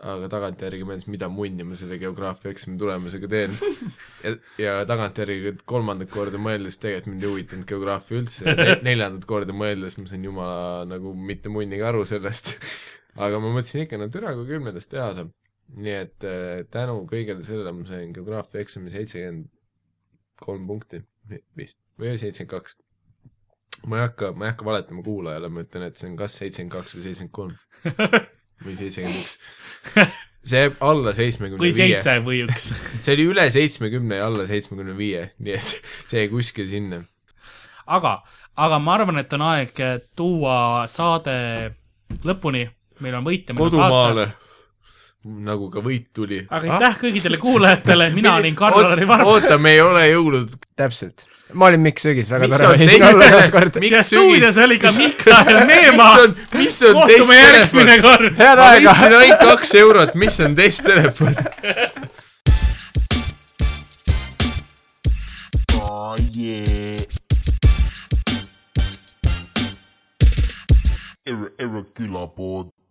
Speaker 2: aga tagantjärgi mõeldes , mida munni ma selle geograafia eksami tulemusega teen . ja, ja tagantjärgi kolmandat korda mõeldes tegelikult mind ei huvitanud geograafia üldse , neljandat korda mõeldes ma sain jumala nagu mitte munnigi aru sellest . aga ma mõtlesin ikka , no türa , kui kümnendas teha saab . nii et eh, tänu kõigele sellele ma sain geograafia eksami seitsekümmend kolm punkti vist või seitsekümmend kaks ma ei hakka , ma ei hakka valetama kuulajale , ma ütlen , et see on kas seitsekümmend kaks või seitsekümmend kolm
Speaker 3: *laughs*
Speaker 2: või seitsekümmend üks . see jääb alla seitsmekümne
Speaker 3: või
Speaker 2: viie ,
Speaker 3: seitse või üks .
Speaker 2: *laughs* see oli üle seitsmekümne ja alla seitsmekümne viie , nii et see jäi kuskil sinna .
Speaker 3: aga , aga ma arvan , et on aeg tuua saade lõpuni . meil on võitlemine ..
Speaker 2: kodumaale , Ah. nagu ka võit tuli .
Speaker 3: aga aitäh kõigidele kuulajatele , mina olin Karl-Lari Varma .
Speaker 2: oota , me ei ole jõulud ,
Speaker 4: täpselt . ma olin Mikk Sögis , väga
Speaker 2: Mis
Speaker 4: tore
Speaker 2: on
Speaker 4: oli siin *laughs*
Speaker 2: teist-
Speaker 4: olla taas kord .
Speaker 3: ja
Speaker 2: miks sügis ,
Speaker 3: stuudios oli ka Mihkel Meemaa
Speaker 2: mis . on , mis on teist
Speaker 3: kohtume järgmine
Speaker 2: telefon ?
Speaker 3: kord .
Speaker 4: head
Speaker 2: ma
Speaker 4: aega .
Speaker 2: võitsin ainult kaks eurot , mis on teist telefon ?
Speaker 1: Oh yeah. Ir- irregular board.